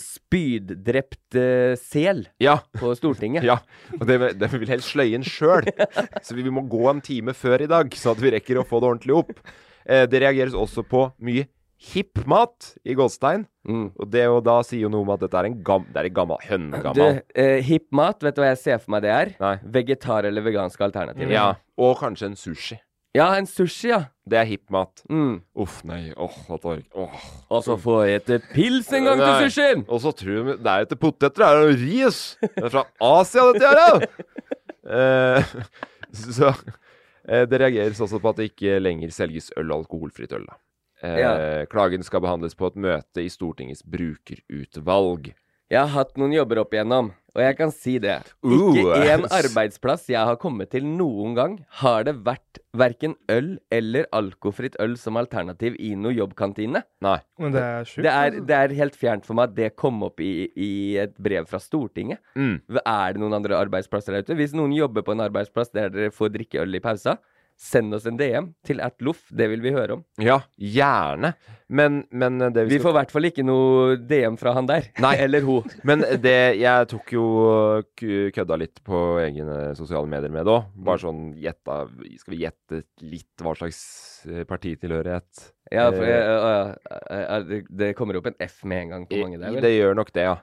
[SPEAKER 1] spyddrept eh, sel
[SPEAKER 2] Ja.
[SPEAKER 1] på Stortinget.
[SPEAKER 2] Ja, og det, det vil helst sløye inn sjøl. Så vi, vi må gå en time før i dag, sånn at vi rekker å få det ordentlig opp. Eh, det reageres også på mye hipp mat i Gåstein.
[SPEAKER 1] Mm.
[SPEAKER 2] Og det og da sier jo noe om at dette er en gam, det er en gammel
[SPEAKER 1] Du,
[SPEAKER 2] høngammal.
[SPEAKER 1] eh, hipp mat, vet du hva jeg ser for meg det er?
[SPEAKER 2] Nei.
[SPEAKER 1] Vegetar- eller veganske alternativer.
[SPEAKER 2] Ja, og kanskje en sushi.
[SPEAKER 1] Ja, en sushi, ja.
[SPEAKER 2] Det er hipp mat.
[SPEAKER 1] Mm.
[SPEAKER 2] Uff, nei. Åh, jeg tar ikke Åh.
[SPEAKER 1] Og så får jeg et pils en gang til
[SPEAKER 2] Nei.
[SPEAKER 1] sushien!
[SPEAKER 2] Og så tror de Det er jo ikke poteter, det er jo ris! Det er fra Asia, dette her, ja! Eh, så eh, Det reageres også på at det ikke lenger selges øl og alkoholfritt øl, da. Eh,
[SPEAKER 1] Ja.
[SPEAKER 2] Klagen skal behandles på et møte i Stortingets brukerutvalg.
[SPEAKER 1] Jeg har hatt noen jobber opp igjennom, og jeg kan si det.
[SPEAKER 2] Ooh.
[SPEAKER 1] Ikke én arbeidsplass jeg har kommet til noen gang, har det vært verken øl eller alkofritt øl som alternativ i noe jobbkantine.
[SPEAKER 2] Nei.
[SPEAKER 3] Men det er sjukt.
[SPEAKER 1] Det
[SPEAKER 2] altså.
[SPEAKER 1] er, det er helt fjernt for meg at det kom opp i, i et brev fra Stortinget.
[SPEAKER 2] Mm.
[SPEAKER 1] Er det noen andre arbeidsplasser der ute? Hvis noen jobber på en arbeidsplass der dere får drikke øl i pausa, send oss en DM til atloff. Det vil vi høre om.
[SPEAKER 2] Ja, gjerne. Men, men det vi,
[SPEAKER 1] Vi
[SPEAKER 2] skal
[SPEAKER 1] får i hvert fall ikke noe DM fra han der.
[SPEAKER 2] Nei.
[SPEAKER 1] Eller hun.
[SPEAKER 2] Men det jeg tok jo k- kødda litt på egne sosiale medier med det òg. Bare sånn gjetta Skal vi gjette litt hva slags eh, partitilhørighet
[SPEAKER 1] Ja, for
[SPEAKER 2] Eh, Eh,
[SPEAKER 1] jeg, å, ja. Er det- Det kommer opp en F med en gang på mange der,
[SPEAKER 2] I-
[SPEAKER 1] vel?
[SPEAKER 2] Det gjør nok det, ja.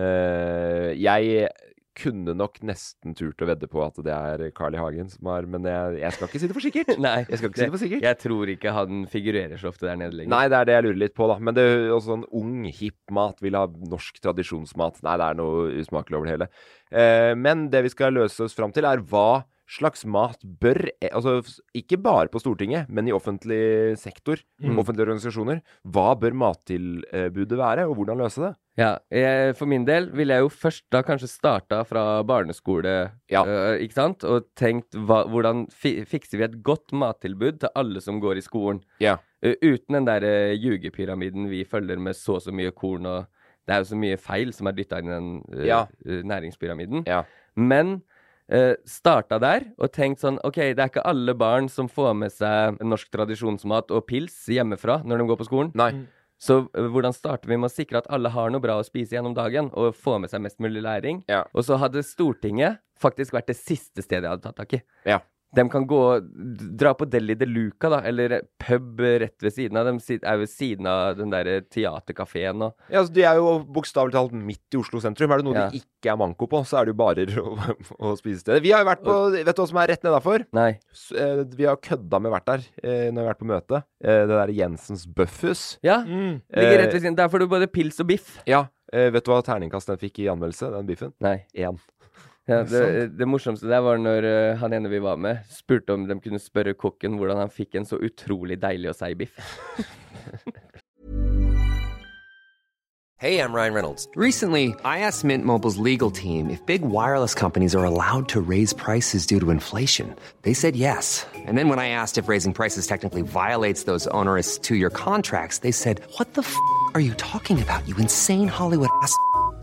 [SPEAKER 2] Eh, jeg kunne nok nesten turt å vedde på at det er Carl I. Hagen som er Men jeg, jeg skal ikke si det for sikkert.
[SPEAKER 1] Nei,
[SPEAKER 2] Jeg skal ikke si det for sikkert.
[SPEAKER 1] Jeg tror ikke han figurerer så ofte der nede lenger.
[SPEAKER 2] Nei, det er det jeg lurer litt på, da. Men det er også sånn ung, hipp mat. Vil ha norsk tradisjonsmat. Nei, det er noe usmakelig over det hele. Eh, men det vi skal løse oss fram til, er hva slags mat bør Altså ikke bare på Stortinget, men i offentlig sektor,
[SPEAKER 1] Mm.
[SPEAKER 2] offentlige organisasjoner. Hva bør mattilbudet være, og hvordan løse det?
[SPEAKER 1] Ja, jeg, For min del ville jeg jo først da kanskje starta fra barneskole,
[SPEAKER 2] Ja.
[SPEAKER 1] øh, ikke sant? Og tenkt hva, hvordan fi, fikser vi et godt mattilbud til alle som går i skolen?
[SPEAKER 2] Ja.
[SPEAKER 1] Eh, uten den der eh, ljugepyramiden vi følger med så og så mye korn og Det er jo så mye feil som er dytta inn i den eh,
[SPEAKER 2] Ja.
[SPEAKER 1] eh, næringspyramiden.
[SPEAKER 2] Ja.
[SPEAKER 1] Men eh, starta der og tenkt sånn OK, det er ikke alle barn som får med seg norsk tradisjonsmat og pils hjemmefra når de går på skolen.
[SPEAKER 2] Nei.
[SPEAKER 1] Så eh, hvordan starter vi med å sikre at alle har noe bra å spise gjennom dagen, og få med seg mest mulig læring?
[SPEAKER 2] Ja.
[SPEAKER 1] Og så hadde Stortinget faktisk vært det siste stedet jeg hadde tatt tak i.
[SPEAKER 2] Ja.
[SPEAKER 1] De kan gå d- dra på Deli de Luca, da, eller pub rett ved siden av. De sit- er ved siden av den derre teaterkafeen og
[SPEAKER 2] Ja, altså, De er jo bokstavelig talt midt i Oslo sentrum. Er det noe
[SPEAKER 1] Ja.
[SPEAKER 2] de ikke er manko på, så er det jo barer og, og spisesteder. Vi har jo vært på Vet du hva som er rett nedafor?
[SPEAKER 1] Nei.
[SPEAKER 2] S- eh, Vi har kødda med vært der eh, når vi har vært på møte. Eh, Det der Jensens Bøffhus.
[SPEAKER 1] Ja.
[SPEAKER 3] Mm.
[SPEAKER 1] Ligger
[SPEAKER 2] Eh,
[SPEAKER 1] rett ved siden. Der får du både pils og biff.
[SPEAKER 2] Ja. eh, Vet du hva terningkast den fikk i anmeldelse, den biffen?
[SPEAKER 1] Nei.
[SPEAKER 2] Én.
[SPEAKER 1] Ja, det, det morsomste der var når eh, han ene vi var med, spurte om de kunne spørre kokken hvordan han fikk en så utrolig deilig og seig biff.
[SPEAKER 6] Hey, I'm Ryan Reynolds. Recently, I asked Mint Mobile's legal team if big wireless companies are allowed to raise prices due to inflation. They said yes. And then when I asked if raising prices technically violates those onerous two year contracts, they said, What the f are you talking about, you insane Hollywood ass? f- a-"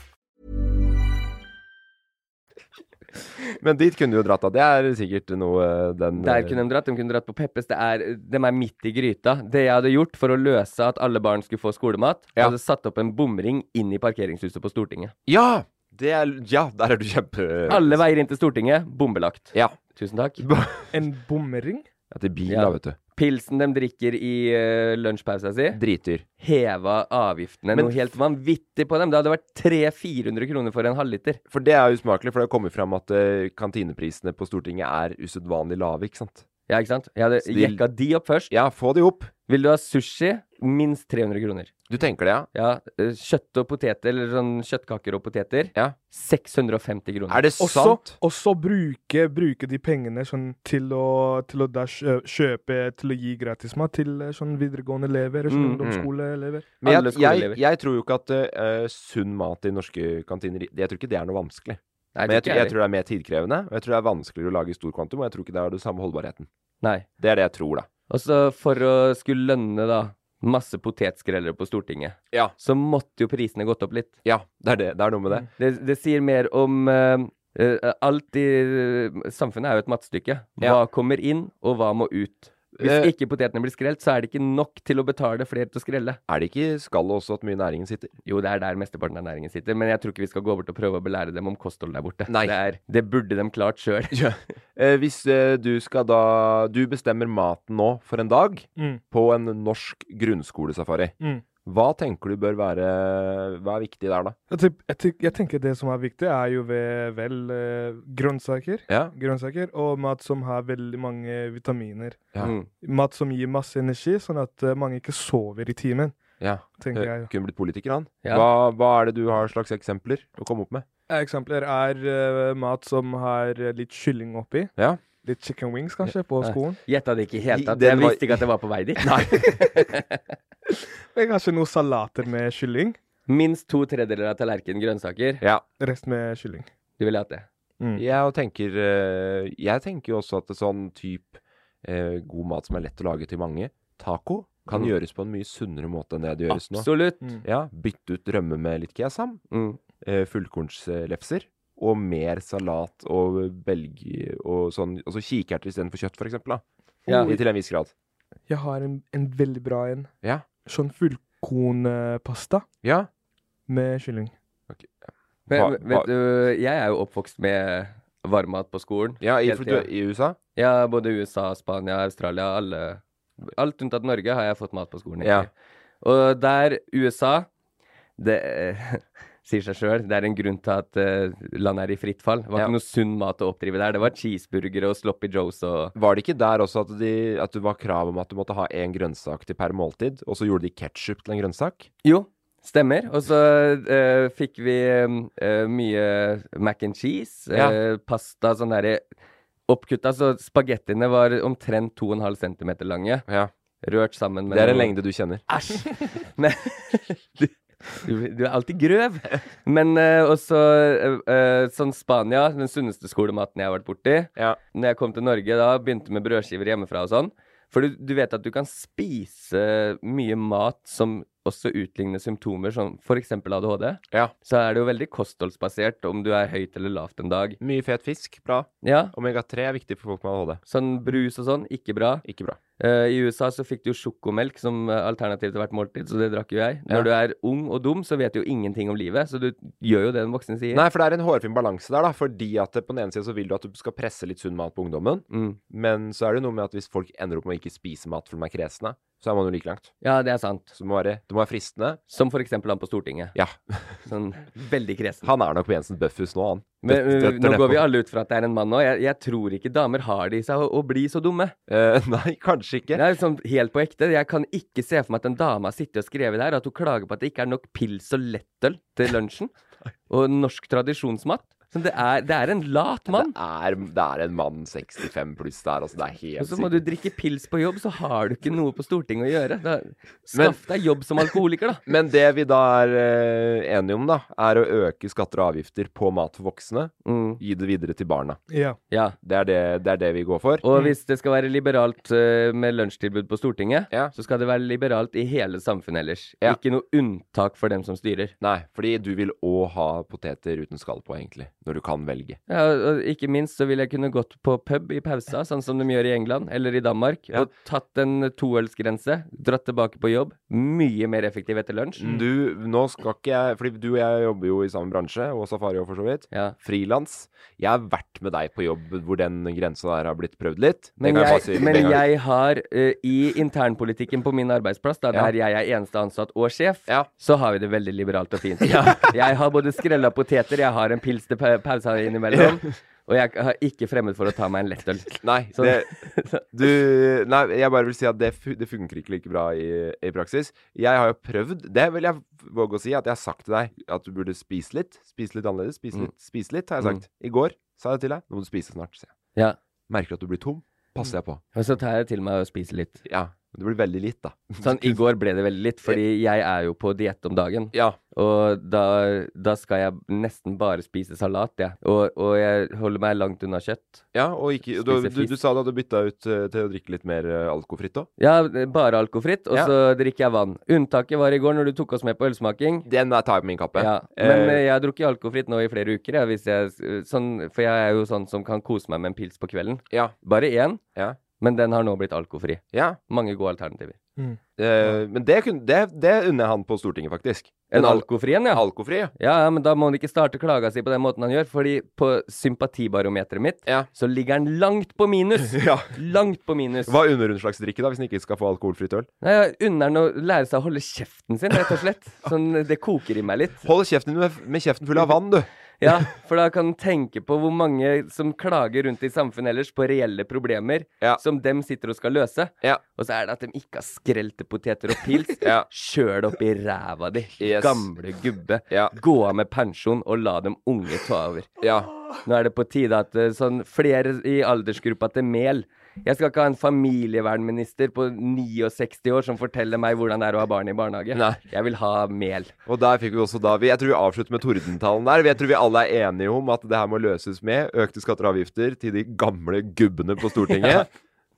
[SPEAKER 2] Men dit kunne du jo dratt av. Det er sikkert noe eh, den
[SPEAKER 1] Der kunne de dratt. De kunne dratt på Peppes. Det er, de er midt i gryta. Det jeg hadde gjort for å løse at alle barn skulle få skolemat,
[SPEAKER 2] Ja.
[SPEAKER 1] hadde satt opp en bomring inn i parkeringshuset på Stortinget.
[SPEAKER 2] Ja! Det er, ja, der er du kjempe...
[SPEAKER 1] Alle veier inn til Stortinget, bombelagt.
[SPEAKER 2] Ja.
[SPEAKER 1] Tusen takk.
[SPEAKER 3] En bomring?
[SPEAKER 2] ja til bil,
[SPEAKER 1] Ja.
[SPEAKER 2] da, vet du.
[SPEAKER 1] Pilsen de drikker i uh, lunsjpausa si,
[SPEAKER 2] Dritdyr.
[SPEAKER 1] heva avgiftene
[SPEAKER 2] Men-
[SPEAKER 1] noe helt vanvittig på dem. Det hadde vært 300-400 kroner for en halvliter.
[SPEAKER 2] For det er usmakelig, for det har kommet fram at eh, kantineprisene på Stortinget er usedvanlig lave, ikke sant?
[SPEAKER 1] Ja, ikke sant? Jeg hadde
[SPEAKER 2] Så de-
[SPEAKER 1] jekka de opp først.
[SPEAKER 2] Ja, få de opp.
[SPEAKER 1] Vil du ha sushi? Minst 300 kroner.
[SPEAKER 2] Du tenker det, ja?
[SPEAKER 1] Ja, eh, kjøtt og poteter, eller sånn kjøttkaker og poteter.
[SPEAKER 2] Ja.
[SPEAKER 1] 650 kroner.
[SPEAKER 2] Er det
[SPEAKER 3] Også,
[SPEAKER 2] sant?
[SPEAKER 3] også bruke, bruke de pengene sånn, til å, til å da kjø- kjøpe Til å gi gratismat til eh, sånn videregående elever og sånn
[SPEAKER 1] Mm, mm.
[SPEAKER 3] ungdomsskoleelever.
[SPEAKER 2] Men
[SPEAKER 1] Alle
[SPEAKER 2] jeg, jeg,
[SPEAKER 1] skoleelever.
[SPEAKER 2] jeg tror jo ikke at eh, sunn mat i norske kantiner Jeg tror ikke det er noe vanskelig.
[SPEAKER 1] Nei,
[SPEAKER 2] Men jeg,
[SPEAKER 1] det
[SPEAKER 2] tror-
[SPEAKER 1] er
[SPEAKER 2] jeg
[SPEAKER 1] det.
[SPEAKER 2] tror det er mer tidkrevende, og jeg tror det er vanskeligere å lage i stor kvantum, og jeg tror ikke det har den samme holdbarheten.
[SPEAKER 1] Nei.
[SPEAKER 2] Det er det jeg tror, da.
[SPEAKER 1] Og så for å skulle lønne da masse potetskrellere på Stortinget,
[SPEAKER 2] Ja.
[SPEAKER 1] så måtte jo prisene gått opp litt.
[SPEAKER 2] Ja, det er, det. Det er noe med det.
[SPEAKER 1] Det, det sier mer om eh, eh, Alt i eh, samfunnet er jo et mattestykke. Hva
[SPEAKER 2] Ja.
[SPEAKER 1] kommer inn, og hva må ut.
[SPEAKER 2] Eh.
[SPEAKER 1] Hvis ikke potetene blir skrelt, så er det ikke nok til å betale flere til å skrelle.
[SPEAKER 2] Er det ikke i skallet også at mye næringen sitter?
[SPEAKER 1] Jo, det er der mesteparten av næringen sitter, men jeg tror ikke vi skal gå bort og prøve å belære dem om kosthold der borte.
[SPEAKER 2] Nei.
[SPEAKER 1] Det, er, det burde dem klart sjøl.
[SPEAKER 2] Eh, hvis eh, du skal da Du bestemmer maten nå for en dag
[SPEAKER 3] Mm.
[SPEAKER 2] på en norsk grunnskolesafari.
[SPEAKER 3] Mm.
[SPEAKER 2] Hva tenker du bør være Hva er viktig der, da?
[SPEAKER 3] Jeg, typ- jeg, typ- jeg tenker det som er viktig, er jo ved, vel eh, grønnsaker.
[SPEAKER 2] Ja.
[SPEAKER 3] Grønnsaker og mat som har veldig mange vitaminer.
[SPEAKER 2] Ja.
[SPEAKER 1] Mm.
[SPEAKER 3] Mat som gir masse energi, sånn at eh, mange ikke sover i timen,
[SPEAKER 2] ja.
[SPEAKER 3] tenker
[SPEAKER 2] Eh,
[SPEAKER 3] jeg.
[SPEAKER 2] Kunne blitt politiker, han.
[SPEAKER 1] Ja.
[SPEAKER 2] Hva, hva er det du har slags eksempler å komme opp med?
[SPEAKER 3] Eksempler er eh, mat som har eh, litt kylling oppi.
[SPEAKER 2] Ja.
[SPEAKER 3] Litt chicken wings, kanskje, på
[SPEAKER 1] Ja.
[SPEAKER 3] skolen.
[SPEAKER 1] Gjetta det ikke i det hele tatt.
[SPEAKER 2] Den
[SPEAKER 1] Jeg
[SPEAKER 2] var-
[SPEAKER 1] visste ikke at det var på vei dit.
[SPEAKER 3] Men kanskje noen salater med kylling.
[SPEAKER 1] Minst to tredjedeler av tallerkenen grønnsaker.
[SPEAKER 2] Ja.
[SPEAKER 3] Rest med kylling.
[SPEAKER 1] Du ville hatt det.
[SPEAKER 3] Mm.
[SPEAKER 2] Jeg og tenker eh, Jeg tenker jo også at det er sånn type god mat som er lett å lage til mange, taco, kan
[SPEAKER 1] Mm.
[SPEAKER 2] gjøres på en mye sunnere måte enn det det gjøres nå.
[SPEAKER 1] Absolutt.
[SPEAKER 3] Mm.
[SPEAKER 2] Ja, Bytte ut rømme med litt kesam.
[SPEAKER 1] Mm.
[SPEAKER 2] eh, fullkornslefser og mer salat og belg og sånn, altså kikerter istedenfor kjøtt, for eksempel, da.
[SPEAKER 1] Ja.
[SPEAKER 2] I- Til en viss grad.
[SPEAKER 3] Jeg har en, en veldig bra en.
[SPEAKER 2] Ja.
[SPEAKER 3] Sånn fullkornpasta
[SPEAKER 2] Ja.
[SPEAKER 3] med kylling.
[SPEAKER 1] Men,
[SPEAKER 2] Hva- hva-
[SPEAKER 1] vet du, jeg er jo oppvokst med varmmat på skolen.
[SPEAKER 2] ja i,
[SPEAKER 1] Helt
[SPEAKER 2] for, du,
[SPEAKER 1] igjen.
[SPEAKER 2] I USA?
[SPEAKER 1] Ja, både USA, Spania, Australia, alle Alt unntatt Norge har jeg fått mat på skolen.
[SPEAKER 2] Ja.
[SPEAKER 1] egentlig. Og der USA Det eh, sier seg sjøl, det er en grunn til at eh, landet er i fritt fall. Det var
[SPEAKER 2] Ja.
[SPEAKER 1] ikke noe sunn mat å oppdrive der. Det var cheeseburgere og sloppy joes og
[SPEAKER 2] Var det ikke der også at, de, at det var krav om at du måtte ha én grønnsak til per måltid, og så gjorde de ketsjup til en grønnsak?
[SPEAKER 1] Jo, stemmer. Og så eh, fikk vi eh, mye mac and cheese, eh,
[SPEAKER 2] Ja.
[SPEAKER 1] pasta, sånn derre oppkutta. Så spagettiene var omtrent 2,5 cm lange,
[SPEAKER 2] Ja.
[SPEAKER 1] rørt sammen med
[SPEAKER 2] Det er en
[SPEAKER 1] noe-
[SPEAKER 2] lengde du kjenner.
[SPEAKER 1] Æsj! Men du, du, du er alltid grøv. Men eh, også eh, eh, sånn Spania, den sunneste skolematen jeg har vært borti.
[SPEAKER 2] Ja.
[SPEAKER 1] Når jeg kom til Norge, da begynte med brødskiver hjemmefra og sånn. For du, du vet at du kan spise mye mat som også utligner symptomer, som f.eks. ADHD.
[SPEAKER 2] Ja.
[SPEAKER 1] Så er det jo veldig kostholdsbasert om du er høyt eller lavt en dag.
[SPEAKER 2] Mye fet fisk, bra.
[SPEAKER 1] Ja,
[SPEAKER 2] Omega-3 er viktig for folk med ADHD.
[SPEAKER 1] Sånn brus og sånn, ikke bra.
[SPEAKER 2] Ikke bra.
[SPEAKER 1] Eh, I USA så fikk du jo sjokomelk som eh, alternativ til hvert måltid, så det drakk jo jeg. Når
[SPEAKER 2] Ja.
[SPEAKER 1] du er ung og dum, så vet du jo ingenting om livet, så du gjør jo det den voksne sier.
[SPEAKER 2] Nei, for det er en hårfin balanse der, da. Fordi at det- på den ene siden så vil du at du skal presse litt sunn mat på ungdommen,
[SPEAKER 1] Mm.
[SPEAKER 2] men så er det noe med at hvis folk ender opp med å ikke spise mat fordi de er kresne, så er man jo like langt.
[SPEAKER 1] Ja, det er sant.
[SPEAKER 2] Så det må være, det må være fristende.
[SPEAKER 1] Som for eksempel han på Stortinget.
[SPEAKER 2] Ja.
[SPEAKER 1] Sånn veldig kresen.
[SPEAKER 2] Han er nok på Jensen Bøffhus nå, han.
[SPEAKER 1] Men,
[SPEAKER 2] Dette-
[SPEAKER 1] eh,
[SPEAKER 2] dette
[SPEAKER 1] nå
[SPEAKER 2] nedpå.
[SPEAKER 1] går vi alle ut fra at det er en mann nå. Jeg, jeg tror ikke damer har det i seg å, å bli så dumme.
[SPEAKER 2] Eh, nei, kanskje ikke.
[SPEAKER 1] Det er sånn helt på ekte. Jeg kan ikke se for meg at en dame har sittet og skrevet der at hun klager på at det ikke er nok pils og lettøl til lunsjen. og norsk tradisjonsmat. Så det, er, det er en lat mann.
[SPEAKER 2] Det er, det er en mann 65 pluss der, altså. Det er helt
[SPEAKER 1] Og så må du
[SPEAKER 2] sikkert.
[SPEAKER 1] drikke pils på jobb, så har du ikke noe på Stortinget å gjøre. Da, skaff deg jobb som alkoholiker, da.
[SPEAKER 2] Men det vi da er eh, enige om, da, er å øke skatter og avgifter på mat for voksne.
[SPEAKER 1] Mm,
[SPEAKER 2] Gi det videre til barna.
[SPEAKER 3] Ja.
[SPEAKER 1] ja.
[SPEAKER 2] Det er det, det, er det vi går for.
[SPEAKER 1] Og hvis det skal være liberalt eh, med lunsjtilbud på Stortinget,
[SPEAKER 2] Ja.
[SPEAKER 1] så skal det være liberalt i hele samfunnet ellers.
[SPEAKER 2] Ja.
[SPEAKER 1] Ikke noe unntak for dem som styrer.
[SPEAKER 2] Nei, fordi du vil òg ha poteter uten skall på, egentlig. når du kan velge.
[SPEAKER 1] Ja, og ikke minst så ville jeg kunne gått på pub i pausa, sånn som de gjør i England eller i Danmark, og tatt en toølsgrense, dratt tilbake på jobb. Mye mer effektiv etter lunsj.
[SPEAKER 2] Du, nå skal ikke jeg Fordi du og jeg jobber jo i samme bransje, og Safari også, for så vidt.
[SPEAKER 1] Ja.
[SPEAKER 2] Frilans. Jeg har vært med deg på jobb hvor den grensa der har blitt prøvd litt. Det
[SPEAKER 1] Men
[SPEAKER 2] kan
[SPEAKER 1] jeg,
[SPEAKER 2] bare si med
[SPEAKER 1] men
[SPEAKER 2] en gang.
[SPEAKER 1] jeg har eh, i internpolitikken på min arbeidsplass, da, der jeg er eneste ansatt og sjef, så har vi det veldig liberalt og fint. Jeg har både skrella poteter, jeg har en pils til pa- pause her innimellom, og jeg har ikke fremmed for å ta meg en lettøl.
[SPEAKER 2] Nei,
[SPEAKER 1] Så-
[SPEAKER 2] det, du, nei, jeg bare vil si at det, fu- det funker ikke like bra i, i praksis. Jeg har jo prøvd, det vil jeg våge å si, at jeg har sagt til deg at du burde spise litt. Spise litt annerledes. Spise litt, spise litt har jeg sagt. I går sa jeg til deg nå må du spise snart. sier jeg.
[SPEAKER 1] Ja.
[SPEAKER 2] Mm. Merker at du blir tom, passer jeg på.
[SPEAKER 1] Og så tar jeg til meg å spise litt.
[SPEAKER 2] Ja, det blir veldig litt, da.
[SPEAKER 1] Sånn, I går ble det veldig litt, fordi jeg er jo på diett om dagen.
[SPEAKER 2] Ja.
[SPEAKER 1] Og da, da skal jeg nesten bare spise salat, jeg. Og, og jeg holder meg langt unna kjøtt.
[SPEAKER 2] Ja, og ikke, du,
[SPEAKER 1] Spise
[SPEAKER 2] du, du
[SPEAKER 1] fisk.
[SPEAKER 2] sa da du bytta ut eh, til å drikke litt mer eh, alkofritt òg.
[SPEAKER 1] Ja, bare alkofritt, og
[SPEAKER 2] Ja.
[SPEAKER 1] så drikker jeg vann. Unntaket var i går når du tok oss med på ølsmaking.
[SPEAKER 2] Den er- tar jeg på min kappe.
[SPEAKER 1] Ja, men eh, jeg har drukket alkofritt nå i flere uker, jeg, hvis jeg, s- sånn, for jeg er jo sånn som kan kose meg med en pils på kvelden.
[SPEAKER 2] ja.
[SPEAKER 1] Bare én,
[SPEAKER 2] ja.
[SPEAKER 1] men den har nå blitt alkofri.
[SPEAKER 2] ja.
[SPEAKER 1] Mange gode alternativer.
[SPEAKER 2] Eh, men det, kunne, det, det unner jeg han på Stortinget, faktisk.
[SPEAKER 1] En
[SPEAKER 2] Den al-
[SPEAKER 1] alkofri en, ja.
[SPEAKER 2] alkofri, ja.
[SPEAKER 1] Ja, ja, men da må han ikke starte klaga si på den måten han gjør, fordi på sympatibarometeret mitt,
[SPEAKER 2] Ja.
[SPEAKER 1] så ligger han langt på minus.
[SPEAKER 2] Ja.
[SPEAKER 1] Langt på minus.
[SPEAKER 2] Hva unner hun slags drikke, da, hvis hun ikke skal få alkoholfritt øl?
[SPEAKER 1] Nei, jeg unner han å lære seg å holde kjeften sin, rett og slett. Sånn, det koker i meg litt.
[SPEAKER 2] Hold kjeften med, med kjeften full av vann, du!
[SPEAKER 1] Ja, for da kan han tenke på hvor mange som klager rundt i samfunnet ellers på reelle problemer
[SPEAKER 2] Ja.
[SPEAKER 1] som dem sitter og skal løse.
[SPEAKER 2] Ja.
[SPEAKER 1] Og så er det at de ikke har skrelte poteter og pils
[SPEAKER 2] Ja.
[SPEAKER 1] sjøl opp i ræva di.
[SPEAKER 2] Yes.
[SPEAKER 1] Gamle gubbe.
[SPEAKER 2] Ja.
[SPEAKER 1] Gå av med pensjon og la dem unge ta over.
[SPEAKER 2] Ja.
[SPEAKER 1] Nå er det på tide at eh, sånn flere i aldersgruppa til Mel Jeg skal ikke ha en familievernminister på 69 år som forteller meg hvordan det er å ha barn i barnehage.
[SPEAKER 2] Nei.
[SPEAKER 1] Jeg vil ha Mel.
[SPEAKER 2] Og der fikk vi også da vi, Jeg tror vi avslutter med tordentalen der. Jeg tror vi alle er enige om at det her må løses med økte skatter og avgifter til de gamle gubbene på Stortinget.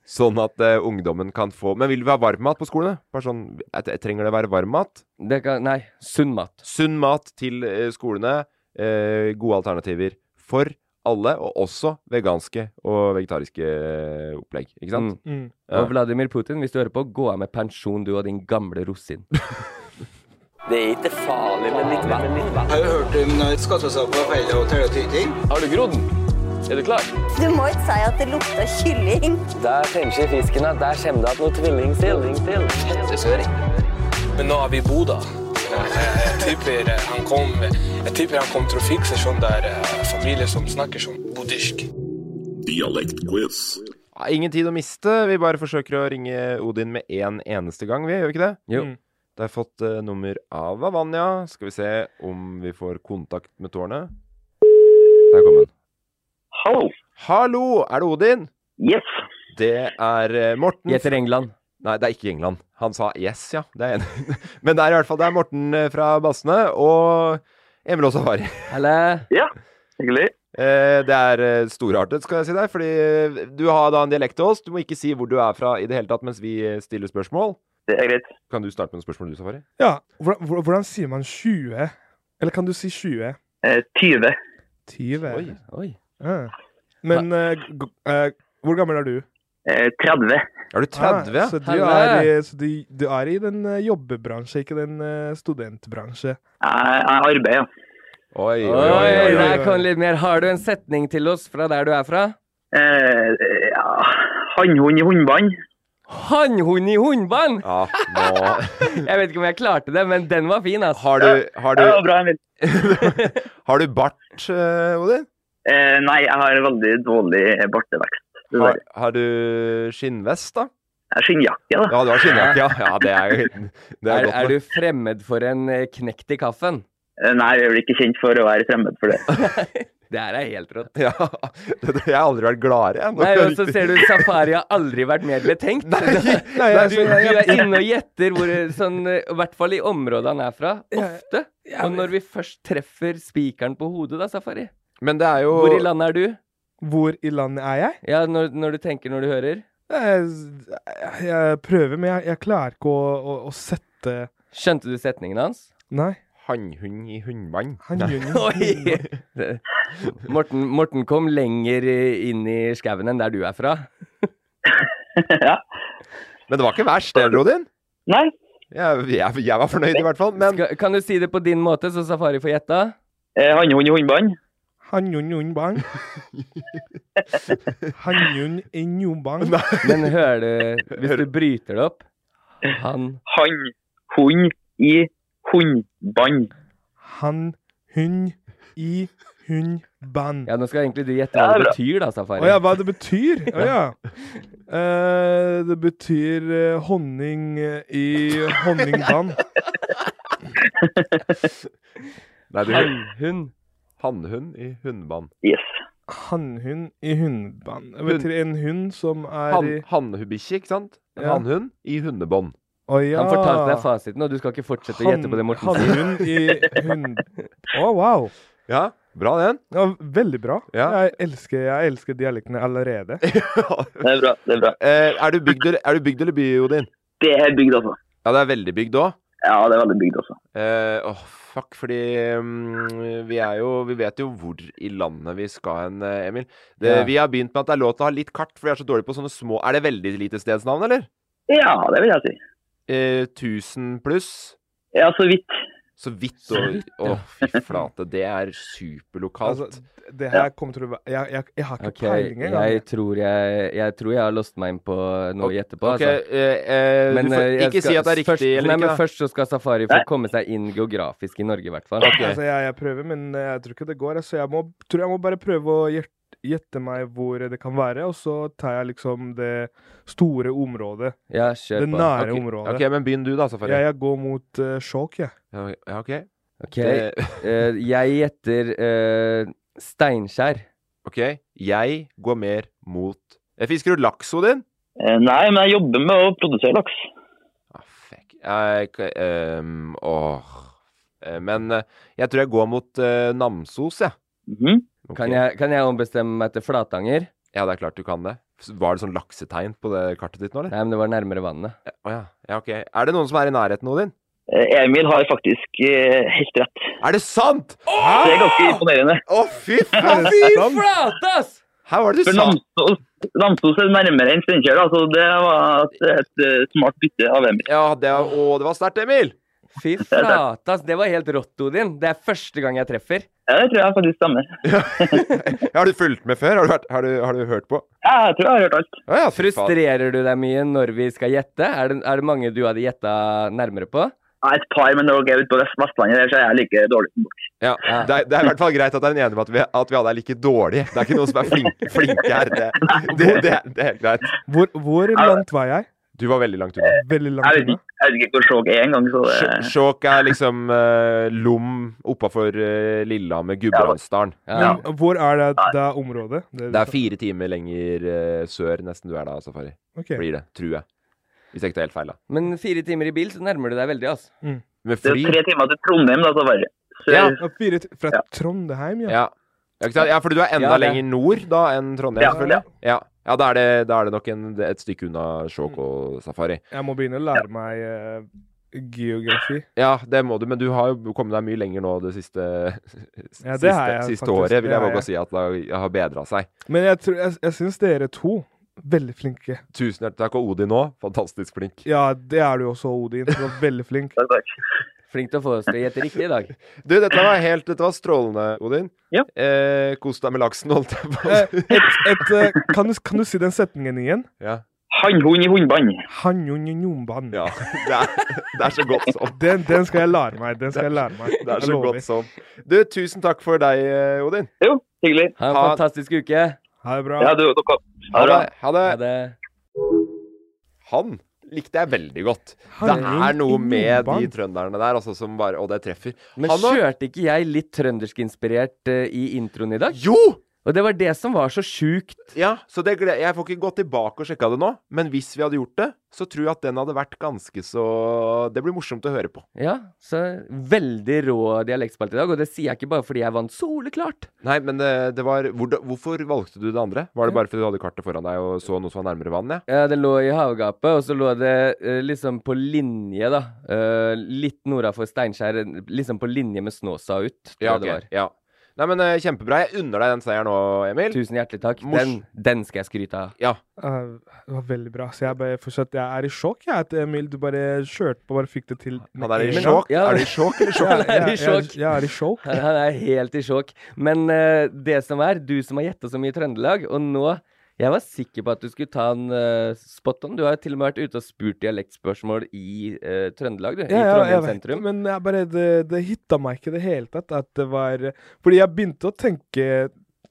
[SPEAKER 2] Sånn at eh, ungdommen kan få Men vil vi ha varmmat på skolene? Bare sånn, jeg, jeg Trenger det være varmmat?
[SPEAKER 1] Det kan, nei, sunn mat.
[SPEAKER 2] Sunn mat til eh, skolene. eh, gode alternativer for alle, og også veganske og vegetariske eh, opplegg. Ikke sant?
[SPEAKER 1] Mm. Og Vladimir Putin, hvis du hører på, gå av med pensjon, du og din gamle rosin. Det er ikke farlig, men litt vann.
[SPEAKER 7] Jeg har jo hørt om når skattesaker var feil og tøyting.
[SPEAKER 1] Har du grodd? Er du klar?
[SPEAKER 8] Du må ikke si at det lukter kylling.
[SPEAKER 1] Der tenker fisken at der kommer det at noe tvilling til.
[SPEAKER 5] Men nå er vi i Boda. Jeg tipper eh, han kom Jeg tipper han kom til å fikse sånn der familie som snakker sånn bodisk.
[SPEAKER 2] Ja, Ah, ingen tid å miste. Vi bare forsøker å ringe Odin med én eneste gang, vi. Gjør vi ikke det?
[SPEAKER 1] Jo.
[SPEAKER 2] Da har jeg fått eh, nummer av Avanya. Skal vi se om vi får kontakt med tårnet. Der kom den.
[SPEAKER 9] Hallo.
[SPEAKER 2] Hallo, er det Odin?
[SPEAKER 9] Yes.
[SPEAKER 2] Det er eh, Morten
[SPEAKER 1] Jeg heter England.
[SPEAKER 2] Nei, det er ikke England. Han sa yes, ja. Det er en. Men det er i hvert fall det er Morten eh, fra Bassene og Emil og Safari.
[SPEAKER 1] Eller?
[SPEAKER 9] Ja, hyggelig.
[SPEAKER 2] Eh, Det er eh, storartet, skal jeg si deg, fordi eh, du har da en dialekt til oss. Du må ikke si hvor du er fra i det hele tatt mens vi eh, stiller spørsmål.
[SPEAKER 9] Det er greit.
[SPEAKER 2] Kan du starte med noen spørsmål, du, Safari?
[SPEAKER 3] Ja, hvordan, hvor- hvordan sier man 20? Eller kan du si 20?
[SPEAKER 9] Eh, 20.
[SPEAKER 1] Eh,
[SPEAKER 3] 20.
[SPEAKER 2] Oi.
[SPEAKER 1] Oi.
[SPEAKER 3] Ja. Men eh, g- eh, hvor gammel er du?
[SPEAKER 9] Eh, 30.
[SPEAKER 2] Er du 30?
[SPEAKER 3] Ah, så du
[SPEAKER 1] Helle.
[SPEAKER 3] er, i- så du, du er i den eh, jobbebransje, ikke den eh, studentbransje.
[SPEAKER 9] Jeg, jeg arbeider, ja.
[SPEAKER 2] Oi,
[SPEAKER 1] Oi,
[SPEAKER 2] oi, oi. oi, oi.
[SPEAKER 1] der kom litt mer. Har du en setning til oss fra der du er fra?
[SPEAKER 9] Eh, ja. Hannhund i håndbånd.
[SPEAKER 1] Hannhund i hundband!
[SPEAKER 2] Ja, nå
[SPEAKER 1] Jeg vet ikke om jeg klarte det, men den var fin, ass.
[SPEAKER 2] Har du, har
[SPEAKER 9] Det var
[SPEAKER 2] du,
[SPEAKER 9] bra, Emil.
[SPEAKER 2] har du bart, eh, Odin?
[SPEAKER 9] Eh, nei, jeg har veldig dårlig bartevekst.
[SPEAKER 2] Har,
[SPEAKER 9] dessverre.
[SPEAKER 2] har du skinnvest, da?
[SPEAKER 9] Jeg har skinnjakke, da.
[SPEAKER 2] Ja, du har skinnjakke, ja. ja det er, det er,
[SPEAKER 1] Er,
[SPEAKER 2] godt.
[SPEAKER 1] er
[SPEAKER 2] nok.
[SPEAKER 1] du fremmed for en eh, knekt i kaffen?
[SPEAKER 9] Eh, Nei, jeg er vel ikke kjent for å være fremmed for det.
[SPEAKER 1] Det her er helt rått.
[SPEAKER 2] Ja, det, jeg har aldri vært gladere. jeg. Nå
[SPEAKER 1] Nei,
[SPEAKER 2] er
[SPEAKER 1] og
[SPEAKER 2] det
[SPEAKER 1] så
[SPEAKER 2] riktig.
[SPEAKER 1] ser du Safari har aldri vært mer betenkt.
[SPEAKER 3] Nei,
[SPEAKER 1] Du,
[SPEAKER 3] altså,
[SPEAKER 1] du
[SPEAKER 3] jeg, jeg,
[SPEAKER 1] er inne og gjetter hvor sånn, eh, i hvert fall i området han er fra, ofte. Og når vi først treffer spikeren på hodet, da, Safari.
[SPEAKER 2] Men det er jo
[SPEAKER 1] Hvor i landet er du?
[SPEAKER 3] hvor i landet er jeg?
[SPEAKER 1] Ja, når, når du tenker, når du hører.
[SPEAKER 3] Jeg, jeg prøver, men jeg, jeg klarer ikke å, å, å sette
[SPEAKER 1] Skjønte du setningen hans?
[SPEAKER 3] Nei.
[SPEAKER 2] hannhund i hundmann.
[SPEAKER 3] Han gjør jo
[SPEAKER 1] Oi! Det- Morten, Morten kom lenger eh, inn i skauen enn der du er fra.
[SPEAKER 9] ja.
[SPEAKER 2] Men det var ikke verst, det, Rodin.
[SPEAKER 9] Nei.
[SPEAKER 2] Jeg, jeg, jeg var fornøyd, i hvert fall.
[SPEAKER 1] Skal, kan du si det på din måte, så Safari får gjetta?
[SPEAKER 9] Eh, Hannhund i hundbånd.
[SPEAKER 3] Hannhund i hundbånd. Hannhund i hundbånd.
[SPEAKER 1] Men hører du Hvis du bryter det opp Han
[SPEAKER 9] Hannhund i hundbånd.
[SPEAKER 3] Han, hun, i, hun, band.
[SPEAKER 1] Ja, nå skal egentlig du gjette hva det betyr, da, Safari.
[SPEAKER 3] Å ja, hva det betyr? Å ja. Eh, det betyr eh, honning eh, i honningband.
[SPEAKER 2] Nei, det-
[SPEAKER 1] Hannhund.
[SPEAKER 2] Hannhund i hundband.
[SPEAKER 9] Yes.
[SPEAKER 3] Hannhund i hundeband. Det betyr en hund som er
[SPEAKER 2] Han,
[SPEAKER 3] i
[SPEAKER 2] Hannhubikkje, ikke sant? En
[SPEAKER 3] Ja.
[SPEAKER 2] Hannhund i hundebånd.
[SPEAKER 3] Å ja.
[SPEAKER 1] Han fortalte deg fasiten, og du skal ikke fortsette å gjette på det Morten sier.
[SPEAKER 3] Hannhund i hund... Å, wow.
[SPEAKER 2] Ja, bra den.
[SPEAKER 3] Ja, veldig bra.
[SPEAKER 2] Ja.
[SPEAKER 3] Jeg, elsker, jeg elsker dialektene allerede.
[SPEAKER 2] Det
[SPEAKER 9] er bra. det Er bra.
[SPEAKER 2] Eh, er, du bygd, eller- er du bygd eller by, Odin?
[SPEAKER 9] Det er bygd, altså.
[SPEAKER 2] Ja, det er veldig bygd òg?
[SPEAKER 9] Ja, det er veldig bygd, altså.
[SPEAKER 2] Eh, åh, fuck, fordi mm, vi er jo Vi vet jo hvor i landet vi skal hen, eh, Emil. Det,
[SPEAKER 9] Ja.
[SPEAKER 2] Vi har begynt med at det er lov til å ha litt kart, for vi er så dårlige på sånne små Er det veldig lite stedsnavn, eller?
[SPEAKER 9] Ja, det vil jeg si.
[SPEAKER 2] Eh, 1000 pluss?
[SPEAKER 9] Ja, så vidt.
[SPEAKER 2] Så vidt,
[SPEAKER 3] Så
[SPEAKER 2] og
[SPEAKER 3] vidt,
[SPEAKER 2] Å,
[SPEAKER 3] ja.
[SPEAKER 2] fy flate. Det er superlokalt.
[SPEAKER 3] Altså, det her kommer til å være Jeg, jeg, jeg har ikke
[SPEAKER 1] Ok,
[SPEAKER 3] peiling engang.
[SPEAKER 1] jeg tror jeg, jeg tror jeg har låst meg inn på noe å gjette på. altså.
[SPEAKER 2] ok, eh, eh, du får
[SPEAKER 1] eh, jeg
[SPEAKER 2] ikke si at det er
[SPEAKER 1] først,
[SPEAKER 2] riktig eller
[SPEAKER 1] nei,
[SPEAKER 2] ikke,
[SPEAKER 1] Men
[SPEAKER 2] da.
[SPEAKER 1] først så skal Safari få
[SPEAKER 2] Nei.
[SPEAKER 1] komme seg inn geografisk i Norge, i hvert fall.
[SPEAKER 3] Altså, jeg, jeg prøver, men eh, jeg tror ikke det går. Så jeg må, tror jeg må bare prøve å gjert- gjette meg hvor det kan være, og så tar jeg liksom det store området.
[SPEAKER 1] Ja, kjør
[SPEAKER 3] det
[SPEAKER 1] på.
[SPEAKER 3] nære
[SPEAKER 1] Ok,
[SPEAKER 3] området.
[SPEAKER 1] ok, men begynn du da, Safari.
[SPEAKER 3] Ja, jeg går mot uh, Skjåk, jeg.
[SPEAKER 2] Ja, OK.
[SPEAKER 1] Ok, eh, jeg gjetter eh, Steinkjer.
[SPEAKER 2] OK. Jeg går mer mot Eh, Fisker du laks, Odin?
[SPEAKER 9] Eh, Nei, men jeg jobber med å produsere laks.
[SPEAKER 2] Jeg, Ah, Eh, k- ehm, åh. Eh, Men eh, jeg tror jeg går mot eh, Namsos, jeg.
[SPEAKER 9] Mhm.
[SPEAKER 1] Kan, jeg, kan jeg ombestemme meg til Flatanger?
[SPEAKER 2] Ja, det er klart du kan det. Var det sånn laksetegn på det kartet ditt nå, eller?
[SPEAKER 1] Nei, men det var nærmere vannet.
[SPEAKER 2] Å ja. ja, ok. Er det noen som er i nærheten, Odin?
[SPEAKER 9] Eh, Emil har faktisk eh, helt rett.
[SPEAKER 2] Er det sant?!
[SPEAKER 9] Det er ganske imponerende.
[SPEAKER 2] Å, fy
[SPEAKER 9] faen!
[SPEAKER 1] flate, ass!
[SPEAKER 2] Her var
[SPEAKER 9] For Namsos, Namsos er nærmere enn Steinkjer, da, så det var et, et eh, smart bytte av Emil.
[SPEAKER 2] Ja, det, å, det var sterkt, Emil!
[SPEAKER 1] Fy flate, ass. Det var helt rått, Odin. Det er første gang jeg treffer.
[SPEAKER 9] Ja, det tror jeg faktisk stemmer.
[SPEAKER 2] Har du fulgt med før? Har du, vært, har du, har du hørt på?
[SPEAKER 9] Ja, jeg tror jeg har hørt alt.
[SPEAKER 1] Frustrerer du deg mye når vi skal gjette? Er det, er det mange du hadde gjetta nærmere på?
[SPEAKER 9] Ja, et par, men når dere er ute på Vest- Vestlandet, der, så er jeg like dårlig som dere.
[SPEAKER 2] Ja, det er, det er i hvert fall greit at det er en enighet om at vi, at vi alle er like dårlige. Det er ikke noen som er flinke, flinke her. Det, det, det, er- det er helt greit.
[SPEAKER 3] Hvor, hvor langt var jeg?
[SPEAKER 2] Du var veldig langt unna.
[SPEAKER 3] Veldig
[SPEAKER 9] Jeg vet ikke, jeg vet ikke hvor Skjåk er engang, så eh. det
[SPEAKER 2] Sj- Skjåk er liksom eh, Lom oppafor eh, Lillehammer, Gudbrandsdalen.
[SPEAKER 3] Men hvor er det det er liksom- området? Det,
[SPEAKER 2] Det er fire timer lenger eh, sør nesten du er da, Safari.
[SPEAKER 3] Ok.
[SPEAKER 2] Blir det, tror jeg. Hvis jeg ikke tar helt feil, da.
[SPEAKER 1] Men fire timer i bil, så nærmer du deg veldig, ass.
[SPEAKER 2] Med
[SPEAKER 9] det er
[SPEAKER 2] fly?
[SPEAKER 9] jo tre timer til Trondheim, da, så verre. Så
[SPEAKER 2] Ja.
[SPEAKER 3] Ja, fire ti- fra Trondheim, ja.
[SPEAKER 2] Ja. Ja, ikke sant? ja, fordi du er enda
[SPEAKER 3] Ja, det-
[SPEAKER 2] lenger nord da enn Trondheim,
[SPEAKER 3] Ja,
[SPEAKER 2] selvfølgelig. Ja, ja da, er det, da er det nok en, et stykke unna Skjåk og Safari.
[SPEAKER 3] Jeg må begynne å lære meg eh, geografi.
[SPEAKER 2] Ja, det må du, men du har jo kommet deg mye lenger nå det siste,
[SPEAKER 3] Ja, det
[SPEAKER 2] siste,
[SPEAKER 3] har jeg
[SPEAKER 2] siste
[SPEAKER 3] faktisk.
[SPEAKER 2] året, vil
[SPEAKER 3] Det
[SPEAKER 2] jeg
[SPEAKER 3] har
[SPEAKER 2] våge å si at det har- har bedra seg.
[SPEAKER 3] Men jeg, tror- jeg, jeg syns dere to veldig flinke.
[SPEAKER 2] Tusen hjertelig takk, og Odin òg. Fantastisk flink.
[SPEAKER 3] Ja, det er du også, Odin. Du var veldig flink.
[SPEAKER 1] Flink til å få oss til å gjette riktig i dag.
[SPEAKER 2] Du, dette var helt Dette var strålende, Odin. Ja. Eh, Kos deg med laksen, holdt jeg på å si.
[SPEAKER 3] Et, eh, kan, du, kan du si den setningen igjen?
[SPEAKER 2] Ja.
[SPEAKER 9] Hannhund i hundbånd.
[SPEAKER 3] Hannjon i njomban.
[SPEAKER 2] Ja, det er, det er så godt som.
[SPEAKER 3] Den, den skal jeg lære meg. Den skal jeg lære meg.
[SPEAKER 2] Det er
[SPEAKER 3] Jeg
[SPEAKER 2] så
[SPEAKER 3] lover.
[SPEAKER 2] godt som. Du, tusen takk for deg, eh, Odin.
[SPEAKER 9] Jo, hyggelig.
[SPEAKER 1] Ha en fantastisk uke.
[SPEAKER 3] Ha det bra.
[SPEAKER 9] Ja, du, dere.
[SPEAKER 2] Ha det. Ha det.
[SPEAKER 1] det.
[SPEAKER 2] Han likte jeg veldig godt. Det
[SPEAKER 1] Han er
[SPEAKER 2] er noe
[SPEAKER 1] en
[SPEAKER 2] med de
[SPEAKER 1] jordbarn.
[SPEAKER 2] trønderne der, altså, som bare Og det treffer.
[SPEAKER 1] Men
[SPEAKER 2] Han har-
[SPEAKER 1] kjørte ikke jeg litt trøndersk-inspirert eh, i introen i dag?
[SPEAKER 2] Jo!
[SPEAKER 1] Og det var det som var så sjukt.
[SPEAKER 2] Ja, så det gled... Jeg får ikke gå tilbake og sjekka det nå, men hvis vi hadde gjort det, så tror jeg at den hadde vært ganske så Det blir morsomt å høre på.
[SPEAKER 1] Ja, så veldig rå dialektspalt i dag, og det sier jeg ikke bare fordi jeg vant soleklart.
[SPEAKER 2] Nei, men det, det var hvor, Hvorfor valgte du det andre? Var det bare fordi du hadde kartet foran deg og så noe som var nærmere vann? Ja?
[SPEAKER 1] Ja, det lå i havgapet, og så lå det eh, liksom på linje, da. Eh, litt nordafor Steinkjer, liksom på linje med Snåsa ut, tror
[SPEAKER 2] Ja,
[SPEAKER 1] jeg det
[SPEAKER 2] ok,
[SPEAKER 1] var.
[SPEAKER 2] ja. Nei, men eh, kjempebra. Jeg unner deg den seieren nå, Emil.
[SPEAKER 1] Tusen hjertelig takk.
[SPEAKER 2] Mors-
[SPEAKER 1] Den, den skal jeg skryte av.
[SPEAKER 2] Ja.
[SPEAKER 3] Eh, det var veldig bra. Så jeg bare fortsatt Jeg er i sjokk, jeg, at Emil du bare kjørte på og bare fikk det til. med
[SPEAKER 1] Han er i
[SPEAKER 3] en gang.
[SPEAKER 1] sjokk? Ja. Er du i sjokk eller sjokk?
[SPEAKER 3] Jeg-
[SPEAKER 1] Han er i
[SPEAKER 3] jeg- jeg-
[SPEAKER 1] sjokk.
[SPEAKER 3] Jeg er i sjokk.
[SPEAKER 1] Han, han er helt i sjokk. Men eh, det som er, du som har gjetta så mye Trøndelag, og nå Jeg var sikker på at du skulle ta en eh, spot on. Du har jo til og med vært ute og spurt dialektspørsmål i eh, Trøndelag, du. I
[SPEAKER 3] Ja, ja, jeg
[SPEAKER 1] Trondheim
[SPEAKER 3] vet
[SPEAKER 1] sentrum.
[SPEAKER 3] det, Men jeg bare, det, det hitta meg ikke i det hele tatt. At det var, fordi jeg begynte å tenke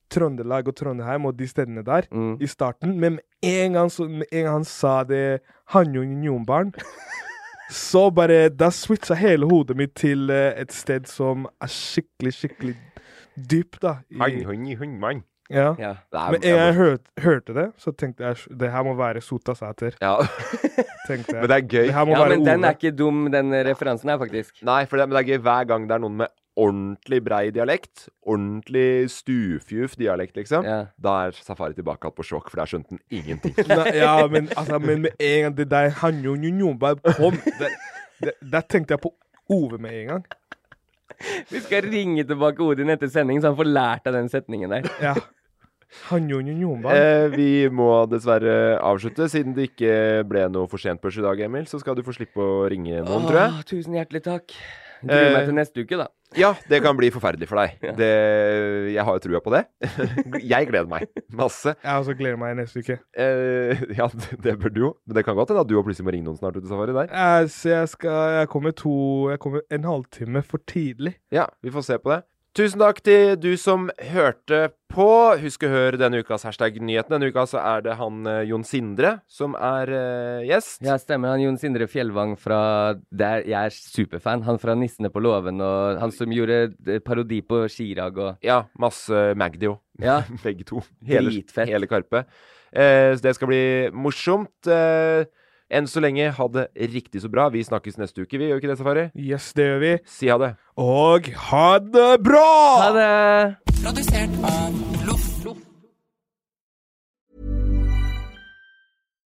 [SPEAKER 3] Trøndelag og Trondheim og de stedene der
[SPEAKER 1] Mm.
[SPEAKER 3] i starten. Men med en gang, så, med en gang han sa det Hanjung-Njombarn Så bare Da switcha hele hodet mitt til eh, et sted som er skikkelig, skikkelig dypt, da. i-
[SPEAKER 2] Hang, hang, hang, man.
[SPEAKER 3] ja.
[SPEAKER 2] Ja.
[SPEAKER 3] Men en gang jeg hørte, hørte det, så tenkte jeg det her må være Sotasæter.
[SPEAKER 2] Ja.
[SPEAKER 3] tenkte jeg.
[SPEAKER 2] Men det er gøy.
[SPEAKER 3] Det her må være Ole.
[SPEAKER 2] ikke dum, den referansen her, faktisk. Nei, for det, men det er gøy hver gang det er noen med ordentlig brei dialekt. Ordentlig stufjuf dialekt, liksom. Da er Safari tilbake igjen på sjokk, for der skjønte han ingenting.
[SPEAKER 3] Nei, ja, men, altså, men med en gang det der Hanjo-Njomba kom det, det, Der tenkte jeg på Ove med en gang.
[SPEAKER 1] Vi skal ringe tilbake Odin etter sending, så han får lært av den setningen der.
[SPEAKER 3] Ja. Hanjo-Njomba.
[SPEAKER 2] Eh, vi må dessverre avslutte. Siden det ikke ble noe for sent børs i dag, Emil, så skal du få slippe å ringe noen, tror jeg.
[SPEAKER 1] Åh, tusen hjertelig takk. Gruer
[SPEAKER 2] Eh,
[SPEAKER 1] meg til neste uke, da.
[SPEAKER 2] Ja, det kan bli forferdelig for deg. Det, jeg har jo trua på det. Jeg gleder meg masse.
[SPEAKER 3] Jeg også gleder meg neste uke.
[SPEAKER 2] Eh, ja, det, det bør du jo. Men det kan godt hende at du også plutselig må ringe noen snart ute i safari der.
[SPEAKER 3] Jeg, så jeg, skal, jeg kommer to Jeg kommer en halvtime for tidlig.
[SPEAKER 2] Ja, vi får se på det. Tusen takk til du som hørte på. Husk å høre denne ukas hashtag-nyheten. Denne uka så er det han eh, Jon Sindre som er eh, gjest.
[SPEAKER 1] Ja, stemmer. Han Jon Sindre Fjellvang fra der Jeg er superfan. Han fra 'Nissene på låven' og han som gjorde eh, parodi på Chirag og
[SPEAKER 2] Ja, masse Magdi òg.
[SPEAKER 1] Ja.
[SPEAKER 2] Begge to.
[SPEAKER 1] Dritfett.
[SPEAKER 2] hele Karpe. Eh, så det skal bli morsomt. Eh, enn så lenge, ha det riktig så bra. Vi snakkes neste uke, vi gjør ikke det, Safari?
[SPEAKER 3] Yes, det gjør vi.
[SPEAKER 2] Si ha det.
[SPEAKER 3] Og ha det bra! Ha
[SPEAKER 1] det!
[SPEAKER 10] Produsert av Loff.